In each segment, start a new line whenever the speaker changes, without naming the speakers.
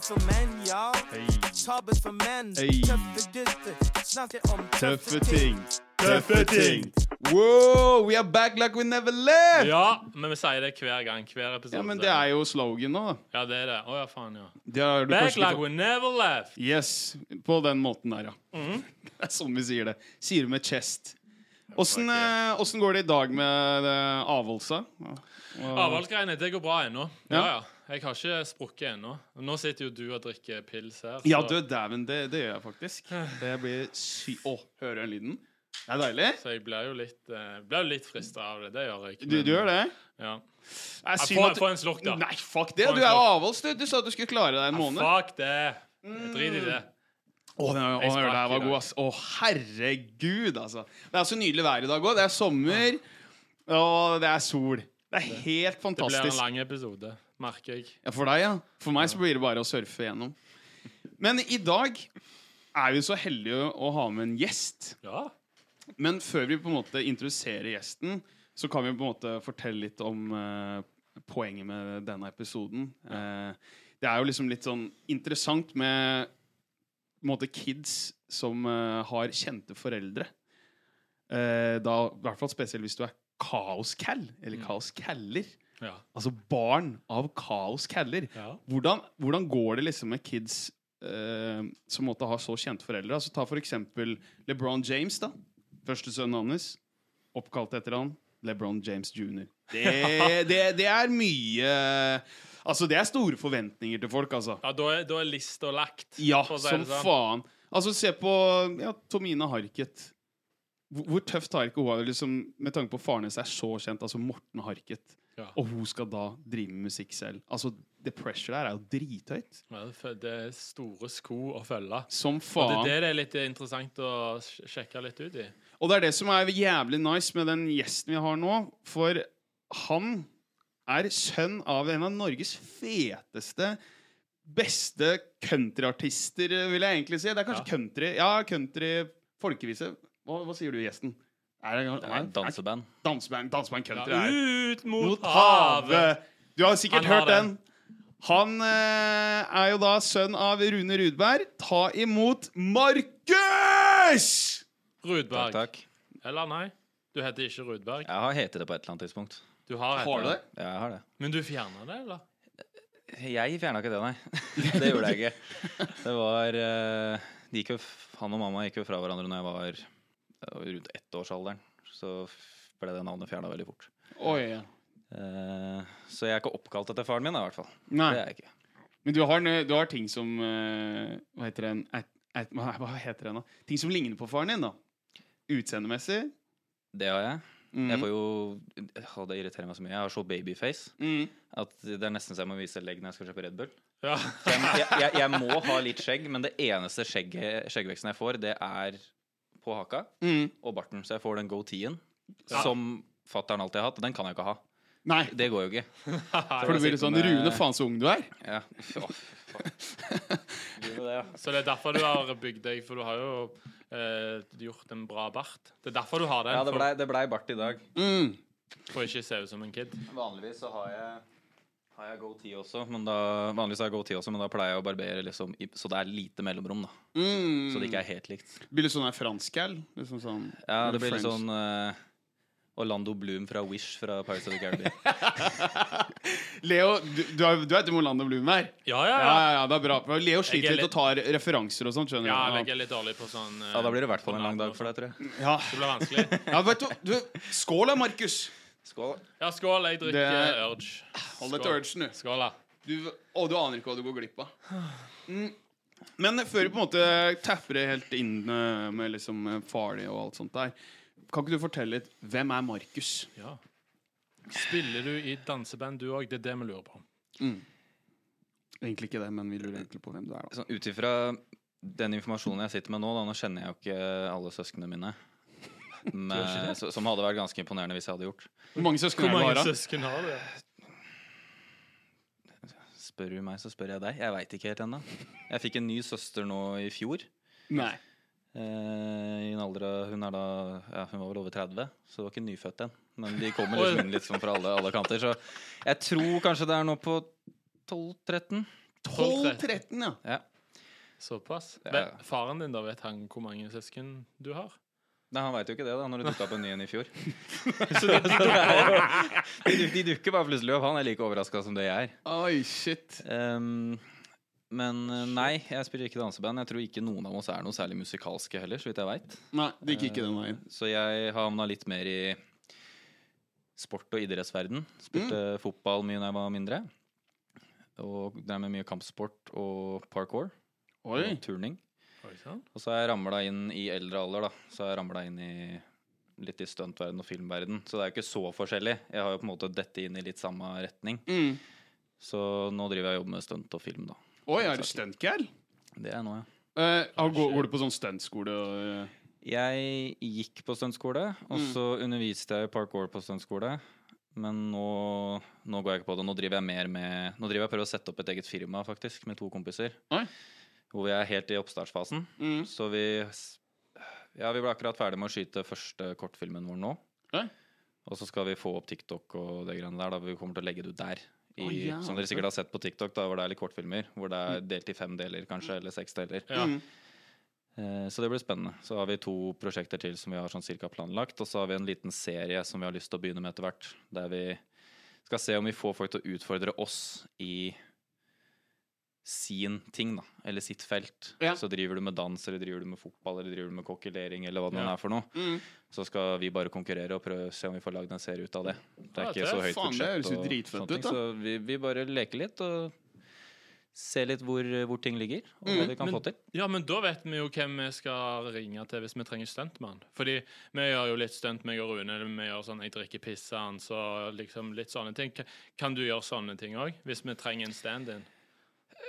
som menn, ja. Tabet for menn.
Hey.
Tøffe gutter. Snakker om
Tøffe ting.
Tøffe ting.
Wow, we are back like we never left! Ja,
Ja, men vi sier det hver gang. Hver episode.
men det er jo slogan nå, da.
Ja, det er det. Å ja, faen, ja.
Det har du
Back
kanskje ikke
like we never left.
Yes, på den måten der, ja. Det er sånn vi sier det. Sier det med chest. Åssen eh, åssen går det i dag med eh, Avolsa?
Avholdsgreiene, det går bra ennå. Ja,
Ja.
ja. Jeg har ikke sprukket ennå. Nå sitter jo du og drikker pils her. så-
Ja, du dæven, det, det gjør jeg faktisk. Det blir sy... Å, hører den lyden? Det er deilig.
Så jeg blir jo litt, eh, blir jo litt frista av det. Det gjør jeg.
Du, du gjør det?
Ja.
Det er
Ja,
synd
få-
at du-
få en slurk, da.
Nei, fuck det.
Få en
Du er jo
slurk.
avholds, du. Du sa du skulle klare deg en måned.
Fuck det. Jeg driter i det.
Å, den å,
Jeg
den
sprakk
der
i
var
dag.
god, ass. Å, herregud, altså. Det er så nydelig vær i dag òg. Det er sommer, og det er sol. Det er helt
Det blir en
fantastisk.
lang episode, merker jeg.
Ja, for deg, ja. For meg så blir det bare å surfe gjennom. Men i dag er vi så heldige å ha med en gjest.
Ja.
Men før vi på en måte introduserer gjesten, så kan vi på en måte fortelle litt om eh, poenget med denne episoden. Eh, det er jo liksom litt sånn interessant med på en måte kids som eh, har kjente foreldre. Eh, da, I hvert fall spesielt hvis du er kaoskall, eller kaoskaller.
ja.
Altså barn av kaoskaller.
Ja.
Hvordan, hvordan går det liksom med kids eh, som måtte ha så kjente foreldre? Altså Ta for eksempel LeBron James, da. Første sønnen hans. Oppkalt etter han. LeBron James jr. Det, det, det er mye Altså, det er store forventninger til folk, altså.
ja, da er, da er lista lagt.
Ja,
for å si
som
det sånn.
faen. Altså, se på ja, Tomina Harket. Hvor, hvor tøft har ikke hun vært, liksom, med tanke på faren hennes er så kjent, altså Morten Harket,
Ja.
og hun skal da drive med musikk selv. Altså, det pressure der er jo drithøyt.
Ja, det er- Det er store sko å følge.
Som
Og det
faen.
er det det er litt interessant å sj- sjekke litt ut i.
Og det er det som er jævlig nice med den gjesten vi har nå, for han er sønn av en av Norges feteste beste countryartister, vil jeg egentlig si. Det er kanskje
Ja.
country Ja, country folkevise. Hva, hva sier du, gjesten? Er det,
Det er et danseband.
danseband, danseband country
Ja,
er
ut mot,
Mot
havet!
havet! Du har sikkert
Han har
hørt den. Han eh, er jo da sønn av Rune Rudberg. Ta imot Markus!
Rudberg.
Takk, takk.
Eller nei, du heter ikke Rudberg.
Jeg har hetet det på et eller annet tidspunkt.
Du har,
Har du det?
Ja, jeg har det.
Men du fjerna det, eller?
Jeg fjerna ikke det, nei. Det gjorde jeg ikke. Det var eh, de gikk jo, f- Han og mamma gikk jo fra hverandre når jeg var eh, rundt ettårsalderen. Så f- ble det navnet fjerna veldig fort.
Oi, ja.
Eh, så jeg er ikke oppkalt etter faren min, da, i hvert fall.
Nei.
Det er jeg ikke.
Men du har, nø- du har ting som eh, Hva heter den at, at, hva- Hva heter den da? Ting som ligner på faren din, da. Utseendemessig.
Det har jeg.
Mm.
Jeg får jo Å, Det irriterer meg så mye. Jeg har så babyface
Mm.
at det er nesten så jeg må vise legg når jeg skal kjøpe Red Bull.
Ja.
Jeg, jeg, jeg, jeg må ha litt skjegg, men det eneste skjegget, skjeggveksten jeg får, det er på haka
Mm.
og barten. Så jeg får den go-tien
Ja.
som fatter'n alltid har hatt. Den kan jeg ikke ha.
Nei,
Det går jo ikke.
for du blir litt sånn
eh,
Rune, faen så ung du er.
Ja. Å, fuck. Gjør jo det, ja.
Så det er derfor du har bygd deg, for du har jo eh, gjort en bra bart. Det er derfor du har den,
Ja, det blei ble bart i dag.
Mm.
for, for ikke å se ut som en kid.
Vanligvis så har jeg har jeg go-tee også, men da, vanligvis har jeg go-tee også, men da pleier jeg å barbere liksom, i, så det er lite mellomrom. da.
Mm.
Så det ikke er helt likt.
Blir litt sånn her franskall? Liksom sånn,
Ja, det blir litt
French.
sånn eh, Orlando Bloom fra Wish fra Pirates of the Caribbean.
Leo, du, du er du vet hvem Orlando Bloom er?
Ja, ja,
Ja,
ja.
ja, ja, det er bra. For Leo sliter
Jeg er
litt og tar referanser og sånt, skjønner
Ja,
du.
jeg er litt dårlig på sånn eh,
Ja, Da blir det i hvert fall en
sånn
lang dag
navn
for deg, tror jeg.
Ja.
og sånn. Det blir vanskelig.
ja, vet du, du Skål da, Markus!
Skål.
Ja, skål. Jeg drikker
Det-
eh, Urge.
Hold deg til
Skål.
urgen, du.
Skål, da.
Du, å, du aner ikke hva du går glipp av. Mm. Men før vi på en måte tapper det helt inn eh, med liksom eh, Farley og alt sånt der, kan ikke du fortelle litt Hvem er Markus?
Ja. Spiller du i danseband, du òg? Det er det vi lurer på.
Egentlig ikke det, men vi lurer egentlig på hvem du er. da
Sånn, Ut ifra den informasjonen jeg sitter med nå, da, nå kjenner jeg jo ikke alle søsknene mine. Men, så- som hadde vært ganske imponerende hvis jeg hadde gjort.
Hvor mange søsken
Hvor
er
mange
det du har?
søsken har du?
Spør du meg, så spør jeg deg. Jeg veit ikke helt ennå. Jeg fikk en ny søster nå i fjor.
da? Nei.
Eh, I en alder av Hun er da ja, Hun var vel over 30, så det var ikke nyfødt en. Men de kommer
Oi.
liksom inn litt sånn fra alle, alle kanter. Så jeg tror kanskje det er nå på 12-13.
12-13.
12-13, ja.
Såpass.
Ja.
Men faren din, da, vet han hvor mange søsken du har?
Nei, Han veit jo ikke det, da, når det dukka opp en ny en i fjor. Så det, det er jo- de, de dukker bare plutselig opp. Han er like overraska som det jeg er.
Oi, shit.
Ehm, men eh, nei, jeg spiller ikke danseband. Jeg tror ikke noen av oss er noe særlig musikalske heller, så vidt jeg veit.
Nei, det gikk ikke den veien.
Så jeg havna litt mer i sport og idrettsverden. Spilte
Mm.
fotball mye da jeg var mindre. Og drev med mye kampsport og parkour
Oi.
og turning.
Oi sann.
Og så har jeg ramla inn i eldre alder, da. Så har jeg ramla inn i litt i stuntverden og filmverden. Så det er jo ikke så forskjellig. Jeg har jo på en måte dette inn i litt samme retning.
Mm.
Så nå driver jeg og jobber med stunt og film, da.
Oi, er du stuntgirl?
Det er jeg nå, ja.
Eh, ah, går, går du på sånn stuntskole? og, eh,
Jeg gikk på stuntskole, og
Mm.
så underviste jeg i parkour på stuntskole. Men nå, nå går jeg ikke på det. Nå driver jeg mer med Nå driver jeg og prøver å sette opp et eget firma faktisk, med to kompiser.
Oi.
Hvor vi er helt i oppstartsfasen.
Mm.
Så vi s- Ja, vi ble akkurat ferdig med å skyte første kortfilmen vår nå.
Oi.
Og så skal vi få opp TikTok og det greiene der. Da vi kommer til å legge det ut der. I,
Å, ja,
som dere
kult.
sikkert har sett på TikTok, da, hvor det er litt kortfilmer. Hvor det er delt i fem deler, kanskje, eller seks deler.
Ja.
Mm.
Eh, Så det blir spennende. Så har vi to prosjekter til som vi har sånn cirka planlagt. Og så har vi en liten serie som vi har lyst til å begynne med etter hvert. Der vi skal se om vi får folk til å utfordre oss i sin ting, da. Eller sitt felt.
Ja.
Så driver du med dans, eller driver du med fotball, eller driver du med kokkelering, eller hva det nå
Ja.
er for noe.
Mm.
Så skal vi bare konkurrere og prøve å se om vi får lagd en serie ut av det. Det er
Ja,
ikke
det er
så høyt
faen, det
budsjett.
høres jo
og
dritfett
sånne
ut,
ting,
da.
Så vi, vi bare leker litt og ser litt hvor, hvor ting ligger, og hva
Mm.
vi kan
Men-
få til.
Ja, men da vet vi jo hvem vi skal ringe til hvis vi trenger stuntmann. Fordi vi gjør jo litt stunt, meg og Rune. Vi gjør sånn 'jeg drikker pissans' og liksom litt sånne ting. Ka- Kan du gjøre sånne ting òg, hvis vi trenger en stand-in?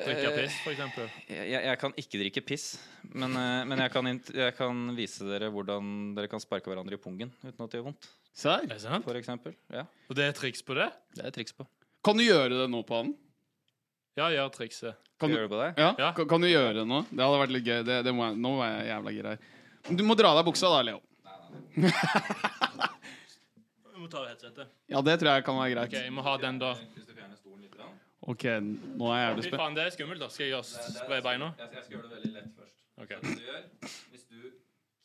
Drikke
Eh,
piss, for eksempel.
Jeg, jeg- jeg kan ikke drikke piss, men, eh, men jeg, kan int- jeg kan vise dere hvordan dere kan sparke hverandre i pungen uten at det gjør vondt.
Serr?
Er det sant?
For eksempel. Ja,
Og det er triks på det?
det er et triks på.
Kan du gjøre det nå på han?
Ja, gjør trikset.
Kan
Skal
du,
jeg gjøre det på deg?
ja?
Ja.
Kan, kan du gjøre det nå? Det hadde vært litt gøy. Det, det må jeg, nå er jeg jævla gira her. Men Du må dra av deg buksa da, Leo.
Jeg må ta av headsetet.
Ja, det tror jeg kan være greit.
Ok, jeg må ha den da.
Hvis du fjerner stolen litt
Ok, nå er jeg jævlig
Fy
spent.
faen, det er skummelt, da. Skal jeg gjøre spre beina?
Jeg skal gjøre det veldig lett først.
Ok.
du gjør, hvis du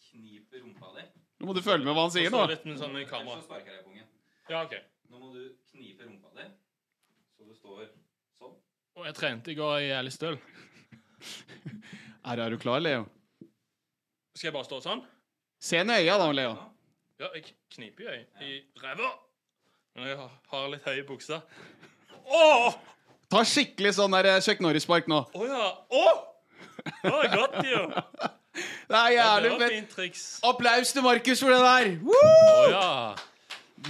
kniper rumpa di,
Nå må du følge med hva han sier nå.
Så litt med sånn i kamera.
sparker jeg i pungen.
Ja, ok.
Nå må du knipe rumpa di, så du står sånn.
Og jeg trente i går i jævlig støl.
Er, er du klar, Leo?
Skal jeg bare stå sånn?
Se henne i øya da, Leo.
Ja, jeg kniper jo jeg i ræva. Men jeg har- har litt høye bukser. Åh!
Ta skikkelig sånn der eh, Chuck Norris-spark nå.
Å ja. Åh! Det var godt, jo.
Det er
Ja,
jævlig
det var
fett.
fint triks.
Applaus til Markus for det der!
Å
Woo!
ja.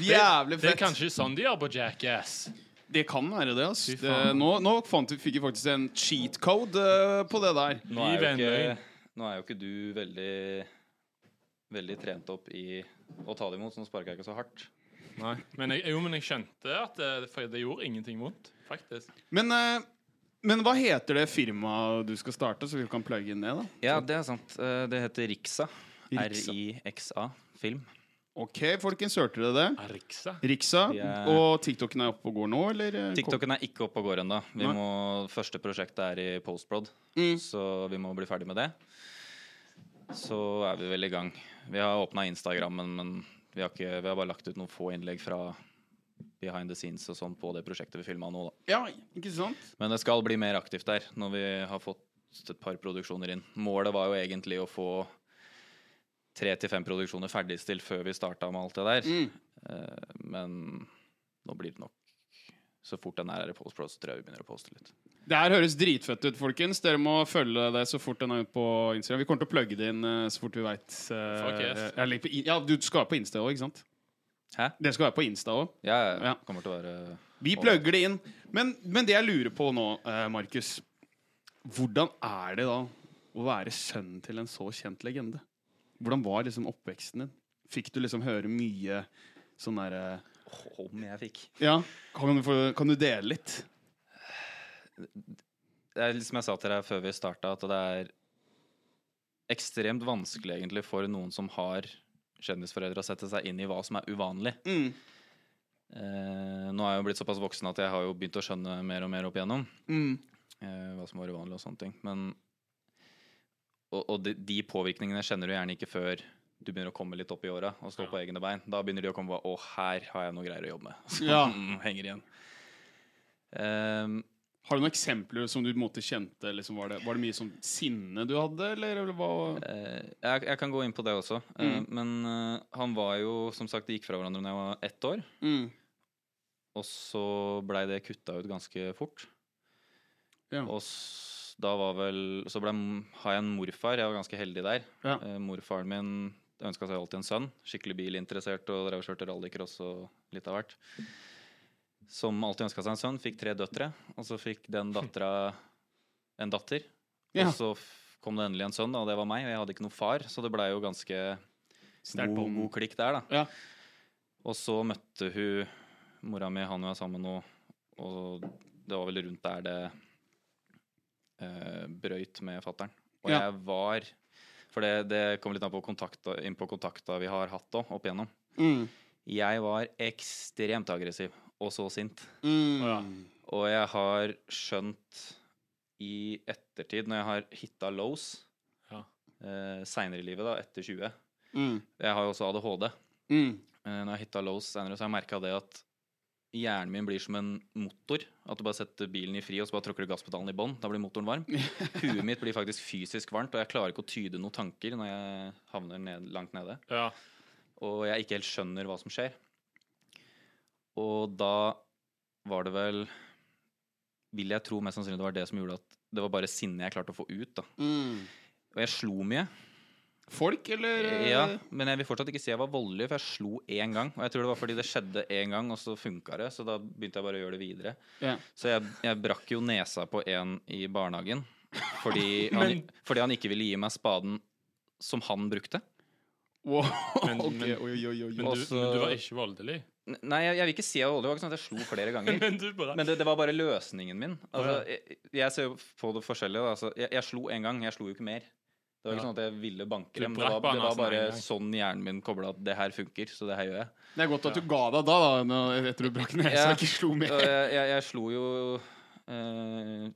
Jævlig
Det er
fett.
kanskje sånn de gjør på Jackass.
Det kan være det, ass.
Fy
Det,
faen.
nå nå fant, vi- fikk vi faktisk en cheat code eh, på det der.
Nå er, jo
Livet er en
ikke, nå er jo ikke du veldig Veldig trent opp i å ta det imot, så nå sparker jeg ikke så hardt.
Nei. Men jeg, jo, men jeg skjønte at det, for det gjorde ingenting vondt, faktisk.
Men, eh, men hva heter det firmaet du skal starte, så vi kan plugge inn det, da?
Ja, det er sant. Eh, Det heter Riksa.
Riksa.
R-I-X-A film.
Ok, folkens, hørte dere det?
Ariksa.
Riksa
Ja.
og TikToken er oppe og går nå, eller? eh,
TikToken er ikke oppe og går ennå. Vi
Nei.
må- Første prosjektet er i postprod,
Mm.
så vi må bli ferdig med det. Så er vi vel i gang. Vi har åpna Instagrammen, men vi har, ikke, vi har bare lagt ut noen få innlegg fra behind the scenes og sånn på det prosjektet vi filma nå, da.
Ja, ikke sant?
Men det skal bli mer aktivt der når vi har fått et par produksjoner inn. Målet var jo egentlig å få tre til fem produksjoner ferdigstilt før vi starta med alt det der.
Mm.
Eh, Men nå blir det nok så fort den er her i Postpro, så tror jeg vi begynner å poste litt.
Det her høres dritfett ut, folkens. Dere må følge det så fort den er ute på Instagram. Vi kommer til å plugge det inn eh, så fort vi veit.
Fuck yes.
ja, du skal være på Insta òg, ikke sant?
Hæ?
Dere skal være på Insta òg.
Jeg
Ja.
kommer til å være
Vi plugger det inn. Men, men det jeg lurer på nå, eh, Markus Hvordan er det da å være sønnen til en så kjent legende? Hvordan var liksom oppveksten din? Fikk du liksom høre mye sånn derre
Om jeg fikk.
Ja, kan du, få- kan du dele litt?
Det er litt som jeg sa til deg før vi starta, at det er ekstremt vanskelig egentlig for noen som har kjendisforeldre, å sette seg inn i hva som er uvanlig.
Mm.
Eh, nå er jeg jo blitt såpass voksen at jeg har jo begynt å skjønne mer og mer opp igjennom.
Mm.
eh, hva som var uvanlig og sånne ting. Men, og og de, de påvirkningene kjenner du gjerne ikke før du begynner å komme litt opp i åra og stå på egne bein. Da begynner de å komme på 'Å, her har jeg noe greier å jobbe med'. Som
Ja.
henger igjen. Ehm,
Har du noen eksempler som du på en måte kjente? Liksom, var, det, var det mye sånn sinne du hadde, eller, eller hva?
Eh, jeg, jeg kan gå inn på det også. Eh, men eh, han var jo, som sagt, de gikk fra hverandre da jeg var ett år.
Mm.
Og så blei det kutta ut ganske fort.
Ja.
Og s da var vel Så ble, har jeg en morfar. Jeg var ganske heldig der.
Ja.
Eh, morfaren min ønska seg alltid en sønn. Skikkelig bilinteressert og drev og kjørte rallycross og litt av hvert. Som alltid ønska seg en sønn. Fikk tre døtre. Og så fikk den dattera en datter.
Ja.
Og så f- kom det endelig en sønn, da, og det var meg. Og jeg hadde ikke noen far, så det blei jo ganske
Sterk
god,
bånd.
god klikk der, da.
Ja.
Og så møtte hun mora mi, han hun er sammen med nå, og det var vel rundt der det eh, brøyt med fattern. Og
Ja.
jeg var For det, det kom litt an på kontakta, inn på kontakta vi har hatt òg, opp igjennom.
Mm.
Jeg var ekstremt aggressiv, og så sint.
Mm.
Å, ja.
Og jeg har skjønt i ettertid, når jeg har hitta lows
Ja.
eh, seinere i livet, da, etter 20
Mm.
Jeg har jo også ADHD.
Mm.
Eh, når jeg hitta lows senere, så har jeg merka det at hjernen min blir som en motor. At du bare setter bilen i fri, og så bare tråkker du gasspedalen i bånn. Da blir motoren varm. Huet mitt blir faktisk fysisk varmt, og jeg klarer ikke å tyde noen tanker når jeg havner ned, langt nede.
Ja.
Og jeg ikke helt skjønner hva som skjer. Og da var det vel Vil jeg tro mest sannsynlig det var det som gjorde at det var bare sinnet jeg klarte å få ut. da.
Mm.
Og jeg slo mye.
Folk, eller? eh,
Ja, men jeg vil fortsatt ikke si jeg var voldelig, for jeg slo én gang. Og jeg tror det var fordi det skjedde én gang, og så funka det. Så da begynte jeg bare å gjøre det videre.
Ja.
Så jeg, jeg brakk jo nesa på en i barnehagen fordi han,
Men-
fordi han ikke ville gi meg spaden som han brukte.
Wow.
Men-
ok,
men-
oi, oi, oi,
Men
oi.
du,
Også-
men du var ikke voldelig.
N- Nei, jeg, jeg vil ikke si jeg var voldelig. Det var ikke sånn at jeg slo flere ganger.
Men du bare
Men det, det var bare løsningen min. Altså,
Å,
jeg, jeg ser jo på det forskjellige. da. Altså, jeg, jeg slo én gang, jeg slo jo ikke mer. Det var
Ja.
ikke sånn at jeg ville banke
Du
dem. Det
brakk
var, det var
barnehasen
bare
en gang.
sånn hjernen min kobla at det her funker, så det her gjør jeg.
Det er godt at du ga deg da, da når- etter du brakk nesa
Ja.
og ikke slo mer.
Og jeg, jeg, jeg slo jo eh,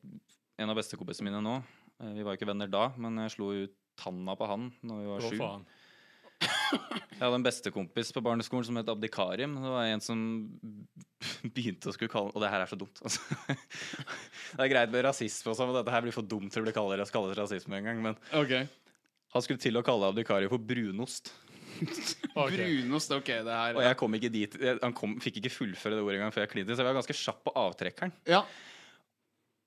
en av bestekompisene mine nå. Eh, Vi var jo ikke venner da, men jeg slo jo tanna på han når vi var
Hva
sju.
faen?
Jeg hadde en bestekompis på barneskolen som het Abdikarim. Det var en som begynte å skulle kalle Og det her er så dumt, altså. Det er greit med rasisme og sånn, men dette her blir for dumt til å bli kalt kalles rasisme en gang. Men
Ok.
han skulle til å kalle Abdikarim for brunost.
Ok.
Brunost, ok, det her
Og jeg kom ikke dit jeg, Han kom, fikk ikke fullføre det ordet engang før jeg klinte, så jeg var ganske kjapp på avtrekkeren.
Ja.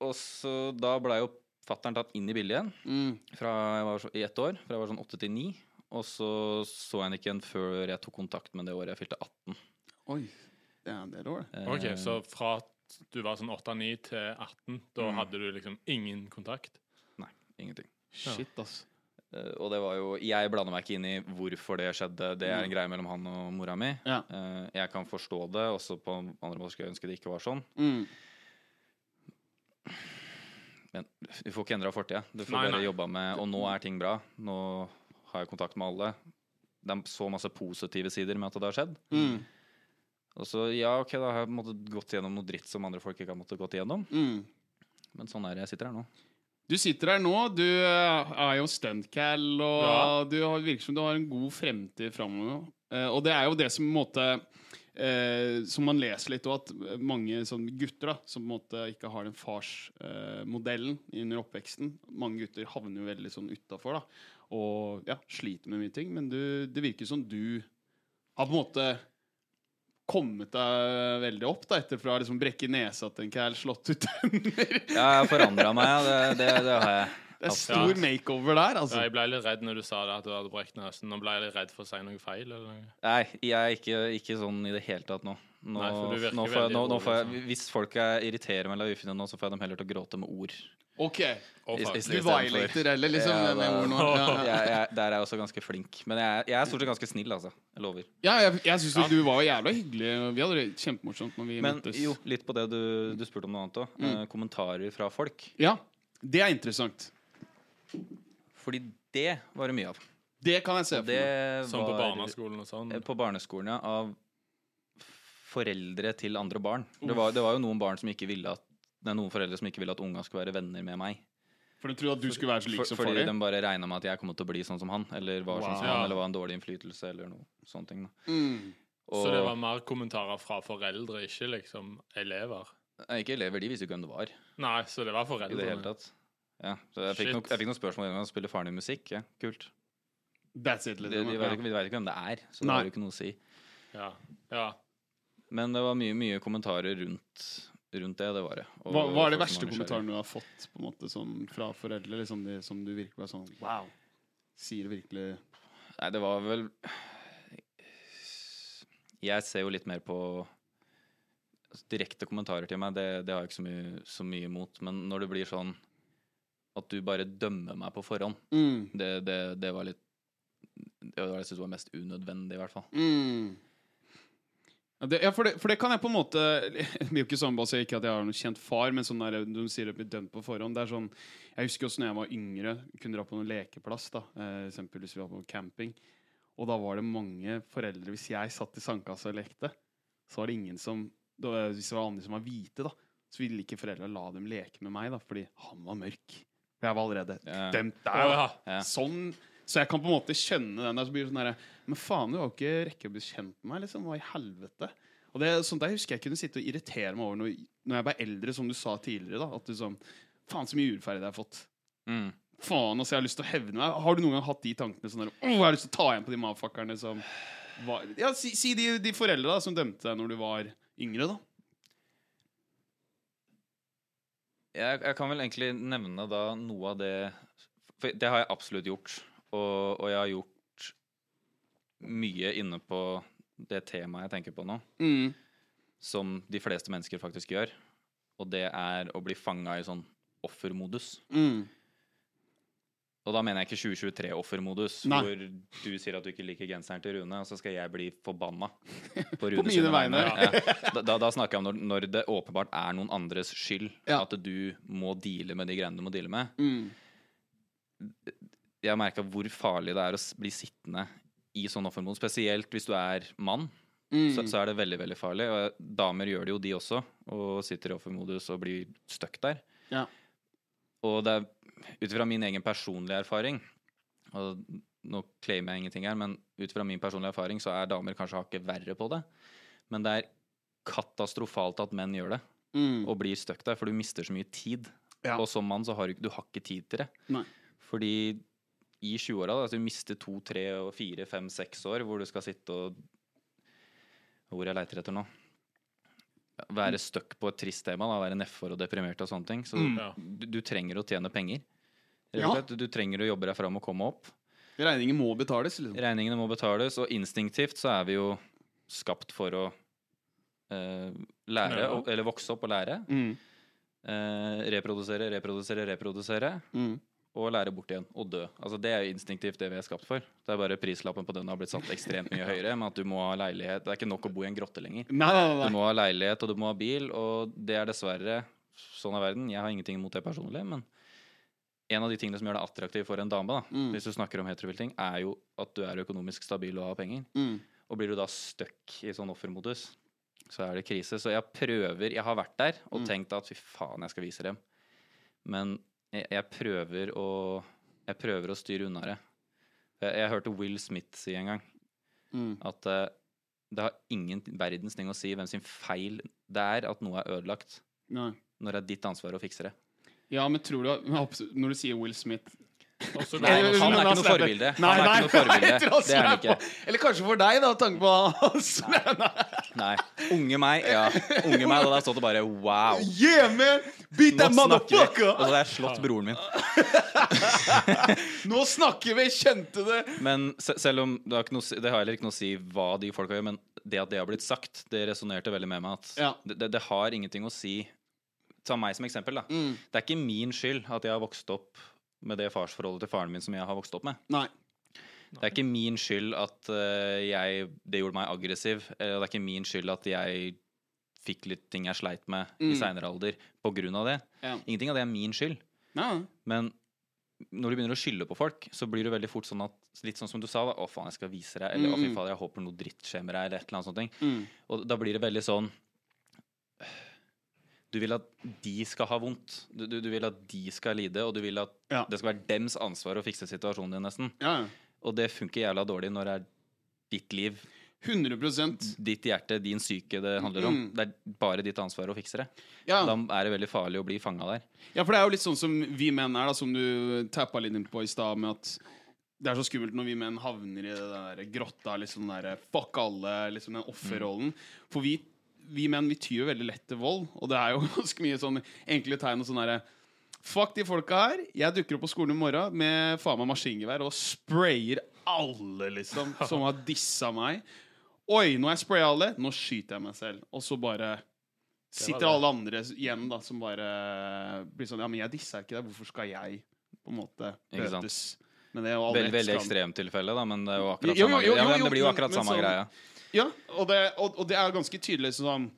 Og så da blei jo fattern tatt inn i bildet igjen.
Mm.
fra jeg var så, i ett år, fra jeg var sånn åtte til ni. Og så så jeg han ikke igjen før jeg tok kontakt med det året jeg fylte 18.
Oi. Det er en del år, det.
Ok,
Eh,
så fra at du var sånn 8-9 til 18, da hadde du liksom ingen kontakt?
Ingenting.
Shit, ass.
Eh, og det var jo Jeg blander meg ikke inn i hvorfor det skjedde. Det
Mm.
er en greie mellom han og mora mi.
Ja.
Eh, jeg kan forstå det, også på andre måter skulle jeg ønske det ikke var sånn.
Mm.
Men du får ikke endra fortida. Du får
Nei,
bare
nei.
jobba med Og nå er ting bra. Nå har jeg kontakt med alle. Det er så masse positive sider med at det har skjedd.
Mm.
Og så, ja, ok, da har jeg på en måte gått gjennom noe dritt som andre folk ikke har måttet gått gjennom.
Mm.
Men sånn er det. Jeg sitter her nå.
Du sitter her nå, du eh, er jo stuntcal, og
Ja.
du har, virker som du har en god fremtid framover. nå. Eh, og det er jo det som på en måte eh, Som man leser litt, og at mange sånn, gutter da, som på en måte ikke har den farsmodellen under oppveksten Mange gutter havner jo veldig sånn utafor og ja, sliter med mye ting. Men du, det virker som du har på en måte kommet deg veldig opp da, etter fra liksom brekke nesa til en cal, slått ut tenner
Ja, jeg har forandra meg, ja. Det, det, det har jeg.
Det er
Absolutt.
stor makeover der, altså.
Ja, jeg ble litt redd når du sa det at du hadde brekt nesen. Nå ble jeg litt redd for å si noe feil. Eller noe.
Nei, jeg er ikke, ikke sånn i det hele tatt nå. Nå,
Nei, for du virker
nå får jeg, nå,
veldig
nå
altså.
får jeg,
rolig,
hvis folk er irriterer meg eller er ufine nå, så får jeg dem heller til å gråte med ord.
Ok,
Å,
I-
faen.
i-
du
istedenfor-
violater heller, liksom,
Ja,
med
da-
ord nå. Ja, ja.
Jeg, jeg, der er jeg også ganske flink. Men jeg, jeg er stort sett ganske snill, altså. Jeg lover.
ja jeg, jeg syns jo du var jævla hyggelig. og Vi hadde det kjempemorsomt når vi
Men
møttes. Mm.
jo, litt på det du, du spurte om noe annet òg. Eh, kommentarer fra folk.
Ja, det er interessant.
Fordi det var det mye av.
Det kan jeg se
Og
for
det
meg.
Sånn på
var-
barneskolen og sånn.
Eh, På barneskolen, ja. Av foreldre til andre barn. Det var, det var jo noen barn som ikke ville at det er noen foreldre som ikke ville at unga skulle være venner med meg.
For de trodde at du skulle være så lik
For,
som
fordi
far
de
din.
bare regna med at jeg kom til å bli sånn som han, eller var sånn som
Wow.
han, eller var en dårlig innflytelse, eller noe sånne ting. Da.
Mm.
Og,
Så det var mer kommentarer fra foreldre, ikke liksom elever?
Nei, eh, Ikke elever, de visste jo ikke hvem det var
Nei, så det var
i det
foreldrene.
hele tatt. Ja, så jeg fikk,
Shit.
nok, jeg fikk noen spørsmål en gang. Spiller faren din musikk? Ja, kult.
That's it,
De,
liksom.
de, vet
Ja.
ikke, de vet ikke hvem det er, så det
Nei.
har jo ikke noe å si.
Ja. ja.
Men det var mye, mye kommentarer rundt, rundt det. Det var det. Og
Hva, hva er de
folk
verste
som var nysgjerrig.
kommentarene du har fått på en måte, sånn, fra foreldre liksom, de, som du virkelig var sånn Wow! Sier virkelig
Nei, det var vel Jeg ser jo litt mer på altså, Direkte kommentarer til meg, det, det har jeg ikke så mye, så mye imot. Men når det blir sånn at du bare dømmer meg på forhånd,
mm.
det, det, det var litt Det var det jeg syntes var mest unødvendig, i hvert fall.
Mm. Ja, det, ja for, det, for det kan jeg på en måte Det blir jo ikke sånn bare ikke at jeg har noen kjent far, men sånn der, du sier det blir dømt på forhånd. Det er sånn, Jeg husker også når jeg var yngre, kunne dra på noen lekeplass. da eh, Eksempel hvis vi var på camping. Og da var det mange foreldre Hvis jeg satt i sandkassa og lekte, så var det ingen som da, Hvis det var andre som var hvite, da så ville ikke foreldra la dem leke med meg, da fordi han var mørk. For jeg var allerede
Ja.
dømt der. da.
ja.
Ja.
Sånn Så jeg kan på en måte skjønne den der. Så blir det sånn der Men faen, du har jo ikke rekke å bli kjent med meg, liksom. Hva i helvete? Og det er sånt der husker jeg kunne sitte og irritere meg over når, når jeg ble eldre, som du sa tidligere. da At du sånn Faen, så mye urettferdig jeg har fått.
Mm.
Faen, altså, jeg har lyst til å hevne meg. Har du noen gang hatt de tankene sånn der Åh, jeg har lyst til å ta igjen på de motherfuckerne som var Ja, si, si de, de foreldra som dømte deg når du var yngre, da.
Jeg, jeg kan vel egentlig nevne da noe av det For det har jeg absolutt gjort. Og, og jeg har gjort mye inne på det temaet jeg tenker på nå.
Mm.
som de fleste mennesker faktisk gjør. Og det er å bli fanga i sånn offermodus.
Mm.
Og da mener jeg ikke 2023-offermodus,
Nei.
hvor du sier at du ikke liker genseren til Rune, og så skal jeg bli forbanna på
mine vegne.
Ja. Da, da, da snakker jeg om når, når det åpenbart er noen andres skyld
Ja.
at du må deale med de greiene du må deale med.
Mm.
Jeg har merka hvor farlig det er å s- bli sittende i sånn offermodus, spesielt hvis du er mann.
Mm.
så, så er det veldig veldig farlig. Og jeg- damer gjør det jo, de også, og sitter i offermodus og blir stuck der.
Ja.
Og det er ut fra min egen personlige erfaring og Nå claimer jeg ingenting her, men ut fra min personlige erfaring så er damer kanskje hakket verre på det. Men det er katastrofalt at menn gjør det
mm.
og blir stuck der, for du mister så mye tid.
Ja.
Og som mann så har du, ikke- du har ikke tid til det.
Nei.
Fordi i 20-åra, da, at du mister to, tre, og fire, fem, seks år hvor du skal sitte og Hvor jeg leiter etter nå. Være stuck på et trist tema, da, være nedfor og deprimert og sånne ting. Så
Mm.
Ja.
du, du trenger å tjene penger. Rett
Ja.
og slett. Du, du trenger å jobbe deg fram og komme opp.
Regningen må betales, liksom.
Regningene må betales, og instinktivt så er vi jo skapt for å eh, lære,
Knøle.
og, eller vokse opp og lære.
Mm.
Eh, reprodusere, reprodusere, reprodusere,
Mm.
og lære bort igjen. Og dø. Altså Det er jo instinktivt det vi er skapt for. Det er bare prislappen på den har blitt satt ekstremt mye høyere. Med at du må ha leilighet Det er ikke nok å bo i en grotte lenger.
Nei, nei,
Du
nei. nei.
må ha leilighet, og du må ha bil, og det er dessverre sånn er verden. Jeg har ingenting imot det personlig, men en av de tingene som gjør det attraktivt for en dame, da,
Mm.
hvis du snakker om heterofile ting, er jo at du er økonomisk stabil og har penger.
Mm.
Og blir du da stuck i sånn offermodus, så er det krise. Så jeg prøver Jeg har vært der og
Mm.
tenkt at fy faen, jeg skal vise dem. Men jeg, jeg prøver å Jeg prøver å styre unna det. Jeg, jeg hørte Will Smith si en gang
Mm.
at eh, det har ingen verdens ting å si hvem sin feil det er at noe er ødelagt,
Nei.
når det er ditt ansvar å fikse det.
Ja, men tror du at- men absolutt- Når du sier Will Smith
Og så
Nei,
går det-
han er ikke noe forbilde. Han er ikke noe forbilde.
jeg tror også
Det er han
jeg er på- Eller kanskje for deg, da, tanke på hans
Nei. Unge meg, ja. Unge meg, da hadde jeg stått og bare wow.
Yeah, man! Beat
Nå
that
snakker vi. Og så
motherfucker!
hadde jeg slått broren min.
Nå snakker vi! Kjente det!
Men se selv om det har, ikke noe, å si- det har heller ikke noe å si hva de folka gjør, men det at det har blitt sagt, det resonnerte veldig med meg. At
Ja.
det, det, det har ingenting å si. Ta meg som eksempel, da.
Mm.
Det er ikke min skyld at jeg har vokst opp med det farsforholdet til faren min som jeg har vokst opp med.
Nei.
Det er ikke min skyld at eh, jeg, det gjorde meg aggressiv. Eller det er ikke min skyld at jeg fikk litt ting jeg sleit med i
Mm.
seinere alder på grunn av det.
Ja.
Ingenting av det er min skyld.
Nei.
Men når du begynner å skylde på folk, så blir det veldig fort sånn at Litt sånn som du sa, da. 'Å, faen, jeg skal vise deg.' Eller 'Å, fy
Mm, mm.
fader, jeg håper noe dritt skjer med deg', eller et eller annet sånt. ting.
Mm.
Og da blir det veldig sånn Du vil at de skal ha vondt. Du, du, du vil at de skal lide, og du vil at
Ja.
det skal være dems ansvar å fikse situasjonen din, nesten.
Ja, ja.
Og det funker jævla dårlig når det er ditt liv,
100
ditt hjerte, din psyke det handler om.
Mm.
Det er bare ditt ansvar å fikse det.
ja.
Da er det veldig farlig å bli fanga der.
ja, for det er jo litt sånn som vi menn er, da, som du tappa litt inn på i stad, med at det er så skummelt når vi menn havner i det der grotta, liksom den der fuck alle, liksom den offerrollen. For vi, vi menn vi tyr jo veldig lett til vold, og det er jo ganske mye sånn enkle tegn og sånn derre Fuck de folka her. Jeg dukker opp på skolen i morgen med faen meg maskingevær og sprayer alle, liksom, som har dissa meg. Oi, nå har jeg spraya alle. Nå skyter jeg meg selv. Og så bare sitter
det.
alle andre igjen da, som bare blir sånn Ja, men jeg dissa ikke deg. Hvorfor skal jeg på en måte
Ikke sant.
bøtes? Men det er jo alle
Veldig, veldig
ekstrem-
ekstremtilfelle, da, men det er jo akkurat
Jo, jo,
samme
jo,
greia. Ja,
jo,
men
jo,
det blir jo
men-
akkurat
men
samme
sånn-
greia.
Ja, og det, og, og det er jo ganske tydelig sånn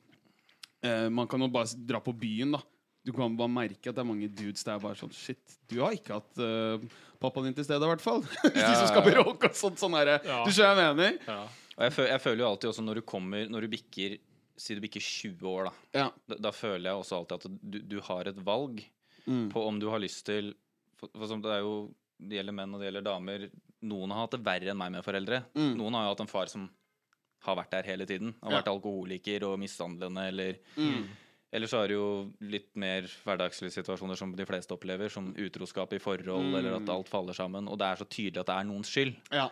eh, Man kan jo bare s- dra på byen, da. Du kan bare merke at det er mange dudes der bare sånn Shit, du har ikke hatt eh, pappaen din til stede, i hvert fall. De
Ja,
som skal
ja, ja.
bråke og sånt. Sånn herre.
Ja.
Du skjønner hva jeg mener?
Ja.
Og jeg, føl, jeg føler jo alltid også når du kommer Når du bikker Si du bikker 20 år, da.
Ja.
Da, da føler jeg også alltid at du, du har et valg
Mm.
på om du har lyst til For, for som det er jo Det gjelder menn, og det gjelder damer. Noen har hatt det verre enn meg med foreldre.
Mm.
Noen har jo hatt en far som har vært der hele tiden. Har
Ja.
vært alkoholiker og mishandlende eller
Mm.
Eller så er det jo litt mer hverdagslige situasjoner som de fleste opplever, som utroskap i forhold,
Mm.
eller at alt faller sammen. Og det er så tydelig at det er noens skyld.
ja.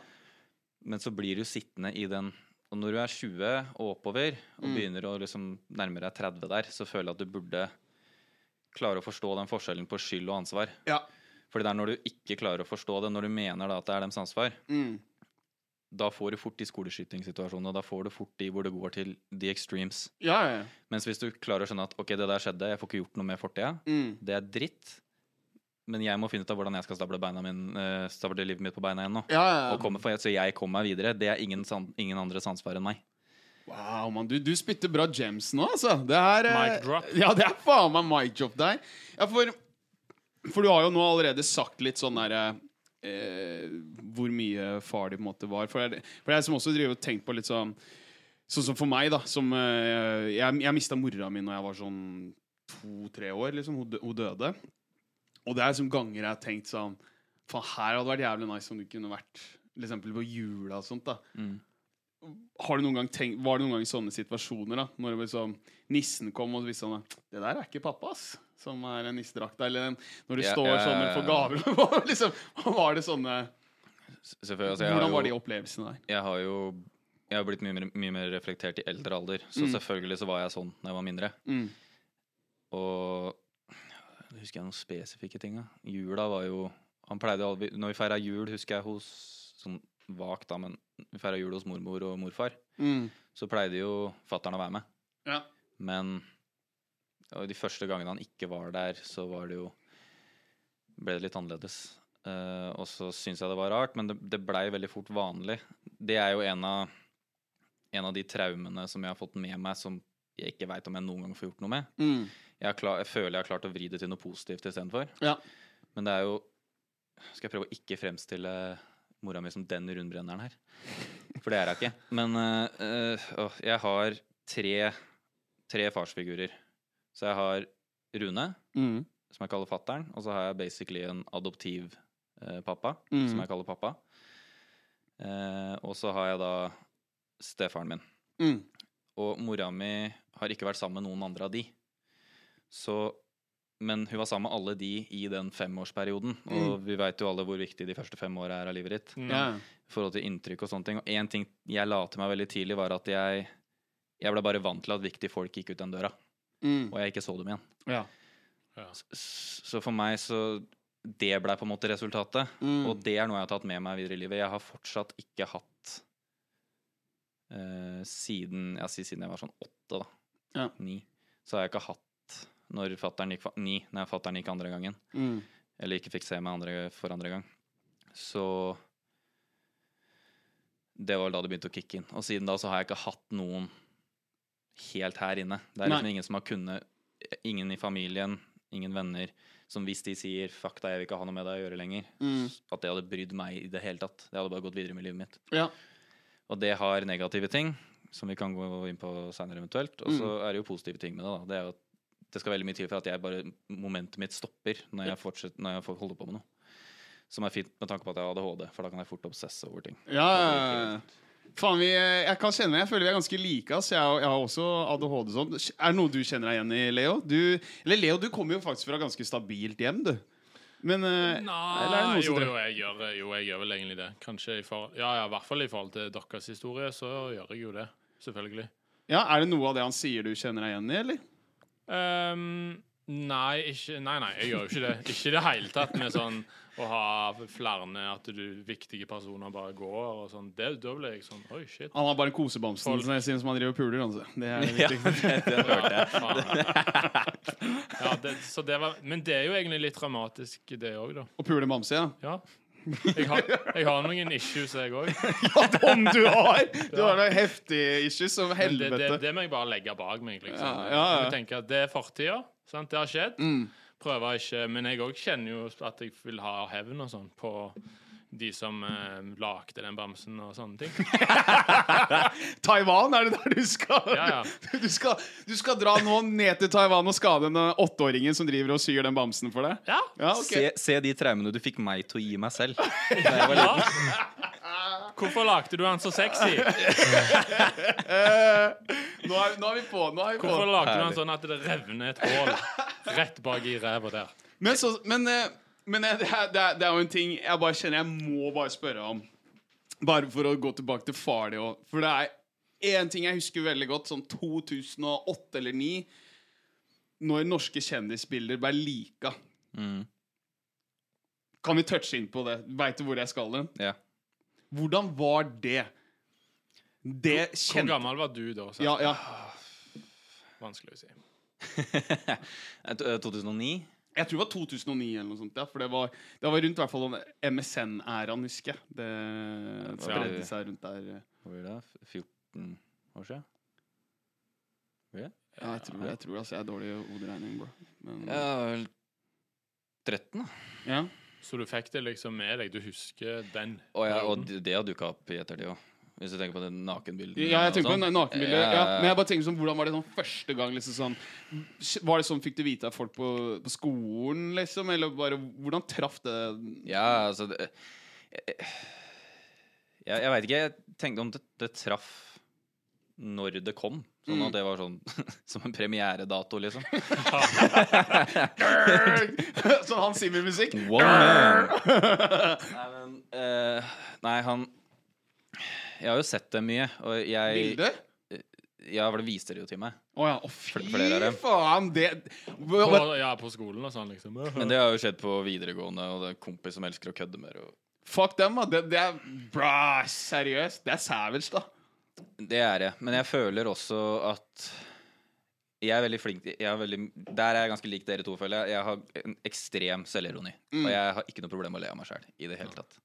Men så blir du sittende i den Og når du er 20 og oppover, og
Mm.
begynner å liksom nærme deg 30 der, så føler jeg at du burde klare å forstå den forskjellen på skyld og ansvar.
Ja.
Fordi det er når du ikke klarer å forstå det, når du mener da at det er dems ansvar,
Mm.
da får du fort de skoleskytingssituasjonene, da får du fort de hvor det går til the extremes.
ja, ja, ja.
Mens hvis du klarer å skjønne at ok, det der skjedde, jeg får ikke gjort noe med fortida,
Mm.
det er dritt, men jeg må finne ut av hvordan jeg skal stable, beina min, eh, stable livet mitt på beina igjen nå.
ja, ja, ja.
Og komme, for jeg, så jeg kommer meg videre. Det er ingen, san, ingen andres ansvar enn meg.
Wow, mann. Du, du spytter bra gems nå, altså. Det her eh,
Mic drop.
Ja, det er faen meg mic drop der. Ja, for, for du har jo nå allerede sagt litt sånn derre eh, Hvor mye far de på en måte var. For det, er- for det er jeg som også driver og tenker på litt sånn Sånn som for meg, da. Som, eh, jeg jeg mista mora mi når jeg var sånn to-tre år. liksom, hun, dø- hun døde. Og det er som ganger jeg har tenkt sånn Faen, her hadde det vært jævlig nice om du kunne vært for eksempel på jula og sånt. da
Mm.
har du noen gang tenkt, var det noen gang i sånne situasjoner da Når det var sånn, nissen kom og visste han Det der er ikke pappa ass Som er en nissedrakta Eller den, når du
Ja,
står
ja, ja,
sånn
ja.
for gaver var, liksom, var det sånne
S- Selvfølgelig, altså, jeg,
Hvordan
har
var de
jo,
opplevelsene der?
jeg har jo jeg har blitt mye, mer- mye mer reflektert i eldre alder, så selvfølgelig så var jeg sånn da jeg var mindre.
Mm.
Og jeg husker jeg noen spesifikke ting. da. Jula var jo Han pleide aldri Når vi feira jul, husker jeg hos Sånn vagt, da, men vi feira jul hos mormor og morfar.
Mm.
Så pleide jo fattern å være med.
Ja.
Men og de første gangene han ikke var der, så var det jo Ble det litt annerledes. Eh, og så syns jeg det var rart, men det, det blei veldig fort vanlig. Det er jo en av, en av de traumene som jeg har fått med meg, som jeg ikke veit om jeg noen gang får gjort noe med.
Mm.
Jeg, har klar, jeg føler jeg har klart å vri det til noe positivt istedenfor.
Ja.
Men det er jo Skal jeg prøve å ikke fremstille mora mi som den rundbrenneren her? For det er hun ikke. Men øh, øh, åh, jeg har tre, tre farsfigurer. Så jeg har Rune,
Mm.
som jeg kaller fattern, og så har jeg basically en adoptiv eh, pappa,
Mm.
som jeg kaller pappa. Eh, og så har jeg da stefaren min.
Mm.
Og mora mi har ikke vært sammen med noen andre av de. Så, men hun var sammen med alle de i den femårsperioden. Og vi veit jo alle hvor viktig de første fem åra er av livet ditt.
Mm.
Ja.
I forhold til inntrykk og sånne ting. Og én ting jeg la til meg veldig tidlig, var at jeg, jeg ble bare vant til at viktige folk gikk ut den døra.
Mm.
Og jeg ikke så dem igjen.
Ja.
Ja.
S- Så for meg så Det blei på en måte resultatet.
Mm.
Og det er noe jeg har tatt med meg videre i livet. Jeg har fortsatt ikke hatt eh, Siden jeg sier siden jeg var sånn åtte, da.
Ja.
Ni. Så har jeg ikke hatt når fatteren gikk fa- Ni, når fatteren gikk andre gangen.
Mm.
Eller ikke fikk se meg andre, for andre gang. Så Det var vel da det begynte å kicke inn. Og siden da så har jeg ikke hatt noen helt her inne. Det er liksom
Nei.
ingen som har kunnet Ingen i familien, ingen venner, som hvis de sier 'fuck deg, jeg vil ikke ha noe med deg å gjøre lenger',
Mm.
s- at det hadde brydd meg i det hele tatt. Det hadde bare gått videre med livet mitt.
Ja.
Og det har Mm. negative ting, som vi kan gå inn på seinere eventuelt. Og så er det jo positive ting med det, da. Det er jo at det skal veldig mye til for at jeg bare, momentet mitt stopper når jeg, fortsetter, når jeg får- holder på med noe. Som er fint med tanke på at jeg har ADHD, for da kan jeg fort obsesse over ting.
Ja, ja,
Ah.
ja. Faen, vi, eh, jeg kan kjenne meg. Jeg føler vi er ganske like. Ass. Jeg, har- jeg har også ADHD. og Sånn. Er det noe du kjenner deg igjen i, Leo? Du, eller Leo, du kommer jo faktisk fra ganske stabilt hjem, du. Men eh, eller er
Nei,
det noe
jo,
som
jo, jeg gjør, jo, jeg gjør vel egentlig det. Kanskje i forhold, ja, ja, i hvert fall i forhold til deres historie, så gjør jeg jo det. Selvfølgelig.
Ja, Er det noe av det han sier du kjenner deg igjen i, eller?
Ehm, nei, ikke, nei, nei, jeg gjør jo ikke det. Ikke i det hele tatt med sånn å ha flere at du, viktige personer bare går og sånn. Det, da blir jeg sånn Oi, shit.
Han har bare en kosebamsen
Folk.
som jeg sier, som han driver og puler. Altså. Det er litt
Ja,
viktig.
det hørte jeg.
Faen. Ja, det, så det var, men det er jo egentlig litt dramatisk, det òg, da.
Å pule bamse, ja.
Ja. Jeg har, jeg har noen issues, jeg òg.
Om du har! Du har noen heftige issues som
Men det,
helvete.
det, det må jeg bare legge bak meg. Liksom.
Ja, ja, ja.
Jeg tenker at Det er fortida. sant? Det har skjedd. Prøver ikke Men jeg òg kjenner jo at jeg vil ha hevn og sånn på de som eh, lagde den bamsen og sånne ting.
Taiwan, er det der du skal?
Ja, ja.
Du, skal du skal dra nå ned til Taiwan og skade den eh, åtteåringen som driver og syr den bamsen for deg?
Ja.
Ja, ok.
Se, se de traumene du fikk meg til å gi meg selv.
ja. Hvorfor lagde du han så sexy?
Nå er, nå er vi på. Nå er vi
Hvorfor
på.
lagde du han
Herlig.
sånn at det revner et hull rett bak i ræva der?
Men, så, men, eh, men eh, det, er, det, er, det er jo en ting jeg bare kjenner jeg må bare spørre om. Bare for å gå tilbake til far di òg. For det er én ting jeg husker veldig godt, sånn 2008 eller 2009, når norske kjendisbilder ble lika.
Mm,
Kan vi touche inn på det? Veit du hvor jeg skal hen?
ja.
Hvordan var det? Det
Hvor
kjente
gammel var du da? Så?
ja, ja.
Vanskelig å si.
Eh, to- eh, 2009?
Jeg tror det var 2009 eller noe sånt. Ja, for det var, det var rundt i hvert fall den MSN-æraen, husker jeg. Det spredde seg rundt der.
Hva blir det? F- 14 år siden?
Ja, jeg tror, jeg tror altså, jeg er dårlig i hoderegning, bro. Men,
Ja, vel 13, da.
ja.
Så du fikk det liksom med deg? Du husker den?
Og, ja,
Mm.
perioden?
og d- det har dukka opp i ettertid òg. Hvis du tenker på det nakenbildet.
ja, jeg
sånn.
tenker på na- nakenbilder.
Ja,
Ja,
ja, ja.
men jeg bare tenker sånn, hvordan var det sånn første gang? liksom sånn Var det sånn, Fikk du vite av folk på, på skolen, liksom? Eller bare, hvordan traff det
Ja, altså det, eh, Jeg, jeg veit ikke. Jeg tenkte om det, det traff når det kom. Sånn
Mm.
at det var sånn som en premieredato, liksom.
Sånn Hans Zimmer-musikk?
Nei, men eh, Nei, han Jeg har jo sett det mye, og jeg
Bilde?
Ja, for det viste det jo til meg.
Å ja. Å, fy
flere av dem.
faen! Det
På, ja, på skolen og sånn, liksom.
Mm.
Men det har jo skjedd på videregående, og det er en kompis som elsker å kødde med det. og-
Fuck dem, da. Det, det er bra, seriøst. Det er savage, da.
Det er det. Men jeg føler også at jeg er veldig flink jeg er veldig, Der er jeg ganske lik dere to, føler jeg. Jeg har en ekstrem selvironi. Og jeg har ikke noe problem med å le av meg sjøl i det hele tatt.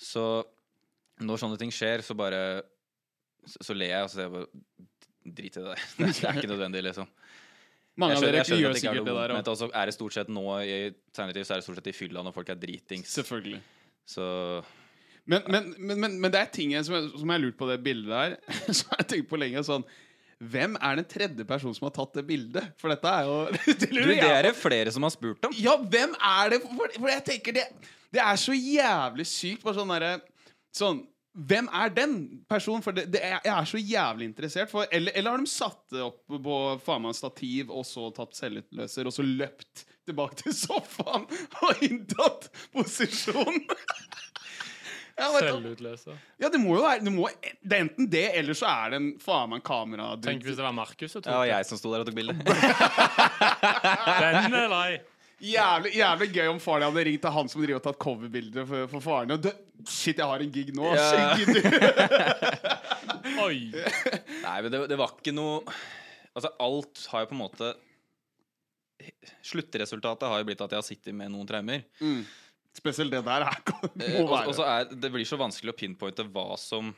Så når sånne ting skjer, så bare Så, så ler jeg, og så er jeg bare Drit i det der. Det er ikke nødvendig, liksom.
Mange
Jeg
av
skjønner,
dere
jeg skjønner
gjør
at det ikke er
sikkert
noe
det
vondt
der
ment.
også.
Og så er det stort sett nå i alternativ så er det stort sett i fylla når folk er dritings.
Selvfølgelig.
Så
Men, men, men, men, men det er ting jeg, som, jeg, som jeg har lurt på det bildet der, som jeg har tenkt på lenge. sånn hvem er den tredje personen som har tatt det bildet? For dette er jo Det
Du,
lurer
det
jeg
er det flere som har spurt om.
Ja, hvem er det? For, for jeg tenker det Det er så jævlig sykt. Bare sånn derre Sånn Hvem er den personen? For det, det er, jeg er så jævlig interessert. For, eller, eller har de satt det opp på faen meg stativ, og så tatt selvutløser, og så løpt tilbake til sofaen og inntatt posisjon? Jeg vet da-
Selvutløser.
ja, det må jo være det, må, det er enten det, eller så er det en faen meg en kamera
Tenk hvis det var Markus som
Det var
tok
jeg som sto der og tok bilde.
den. eller ei?
Jævlig, jævlig gøy om faren din hadde ringt til han som driver og tatt coverbilder for, for faren. Og dø- shit, jeg har en gig nå.
Ja.
Shit, gidder du?
Oi.
Nei, men det, det var ikke noe Altså, alt har jo på en måte Sluttresultatet har jo blitt at jeg har sittet med noen traumer.
Spesielt det der her kan-
Eh,
må
og, og så
være
er det blir så vanskelig å pinpointe hva som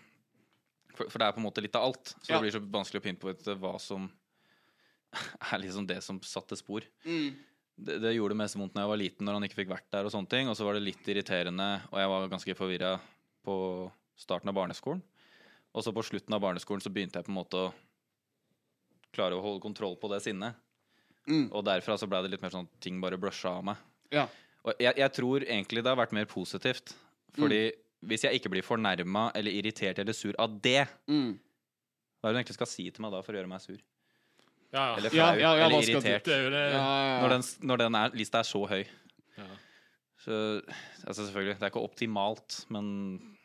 For, for det er på en måte litt av alt. Så
Ja.
det blir så vanskelig å pinpointe hva som er liksom det som satte spor. Det, det gjorde mest vondt når jeg var liten, når han ikke fikk vært der, og sånne ting. Og så var det litt irriterende, og jeg var ganske forvirra på starten av barneskolen. Og så på slutten av barneskolen så begynte jeg på en måte å klare å holde kontroll på det sinnet.
Mm.
Og derfra så ble det litt mer sånn at ting bare brusha av meg.
Ja.
Og jeg, jeg tror egentlig det har vært mer positivt. Fordi hvis jeg ikke blir fornærma eller irritert eller sur av det,
Mm.
hva er det du egentlig skal si til meg da for å gjøre meg sur?
Ja, ja.
Eller flau?
Ja, ja, ja, hva
eller
skal du-
irritert?
Det er jo det.
Ja, ja, ja.
Når den, når den er, lista er så høy.
Ja.
Så altså selvfølgelig, det er ikke optimalt, men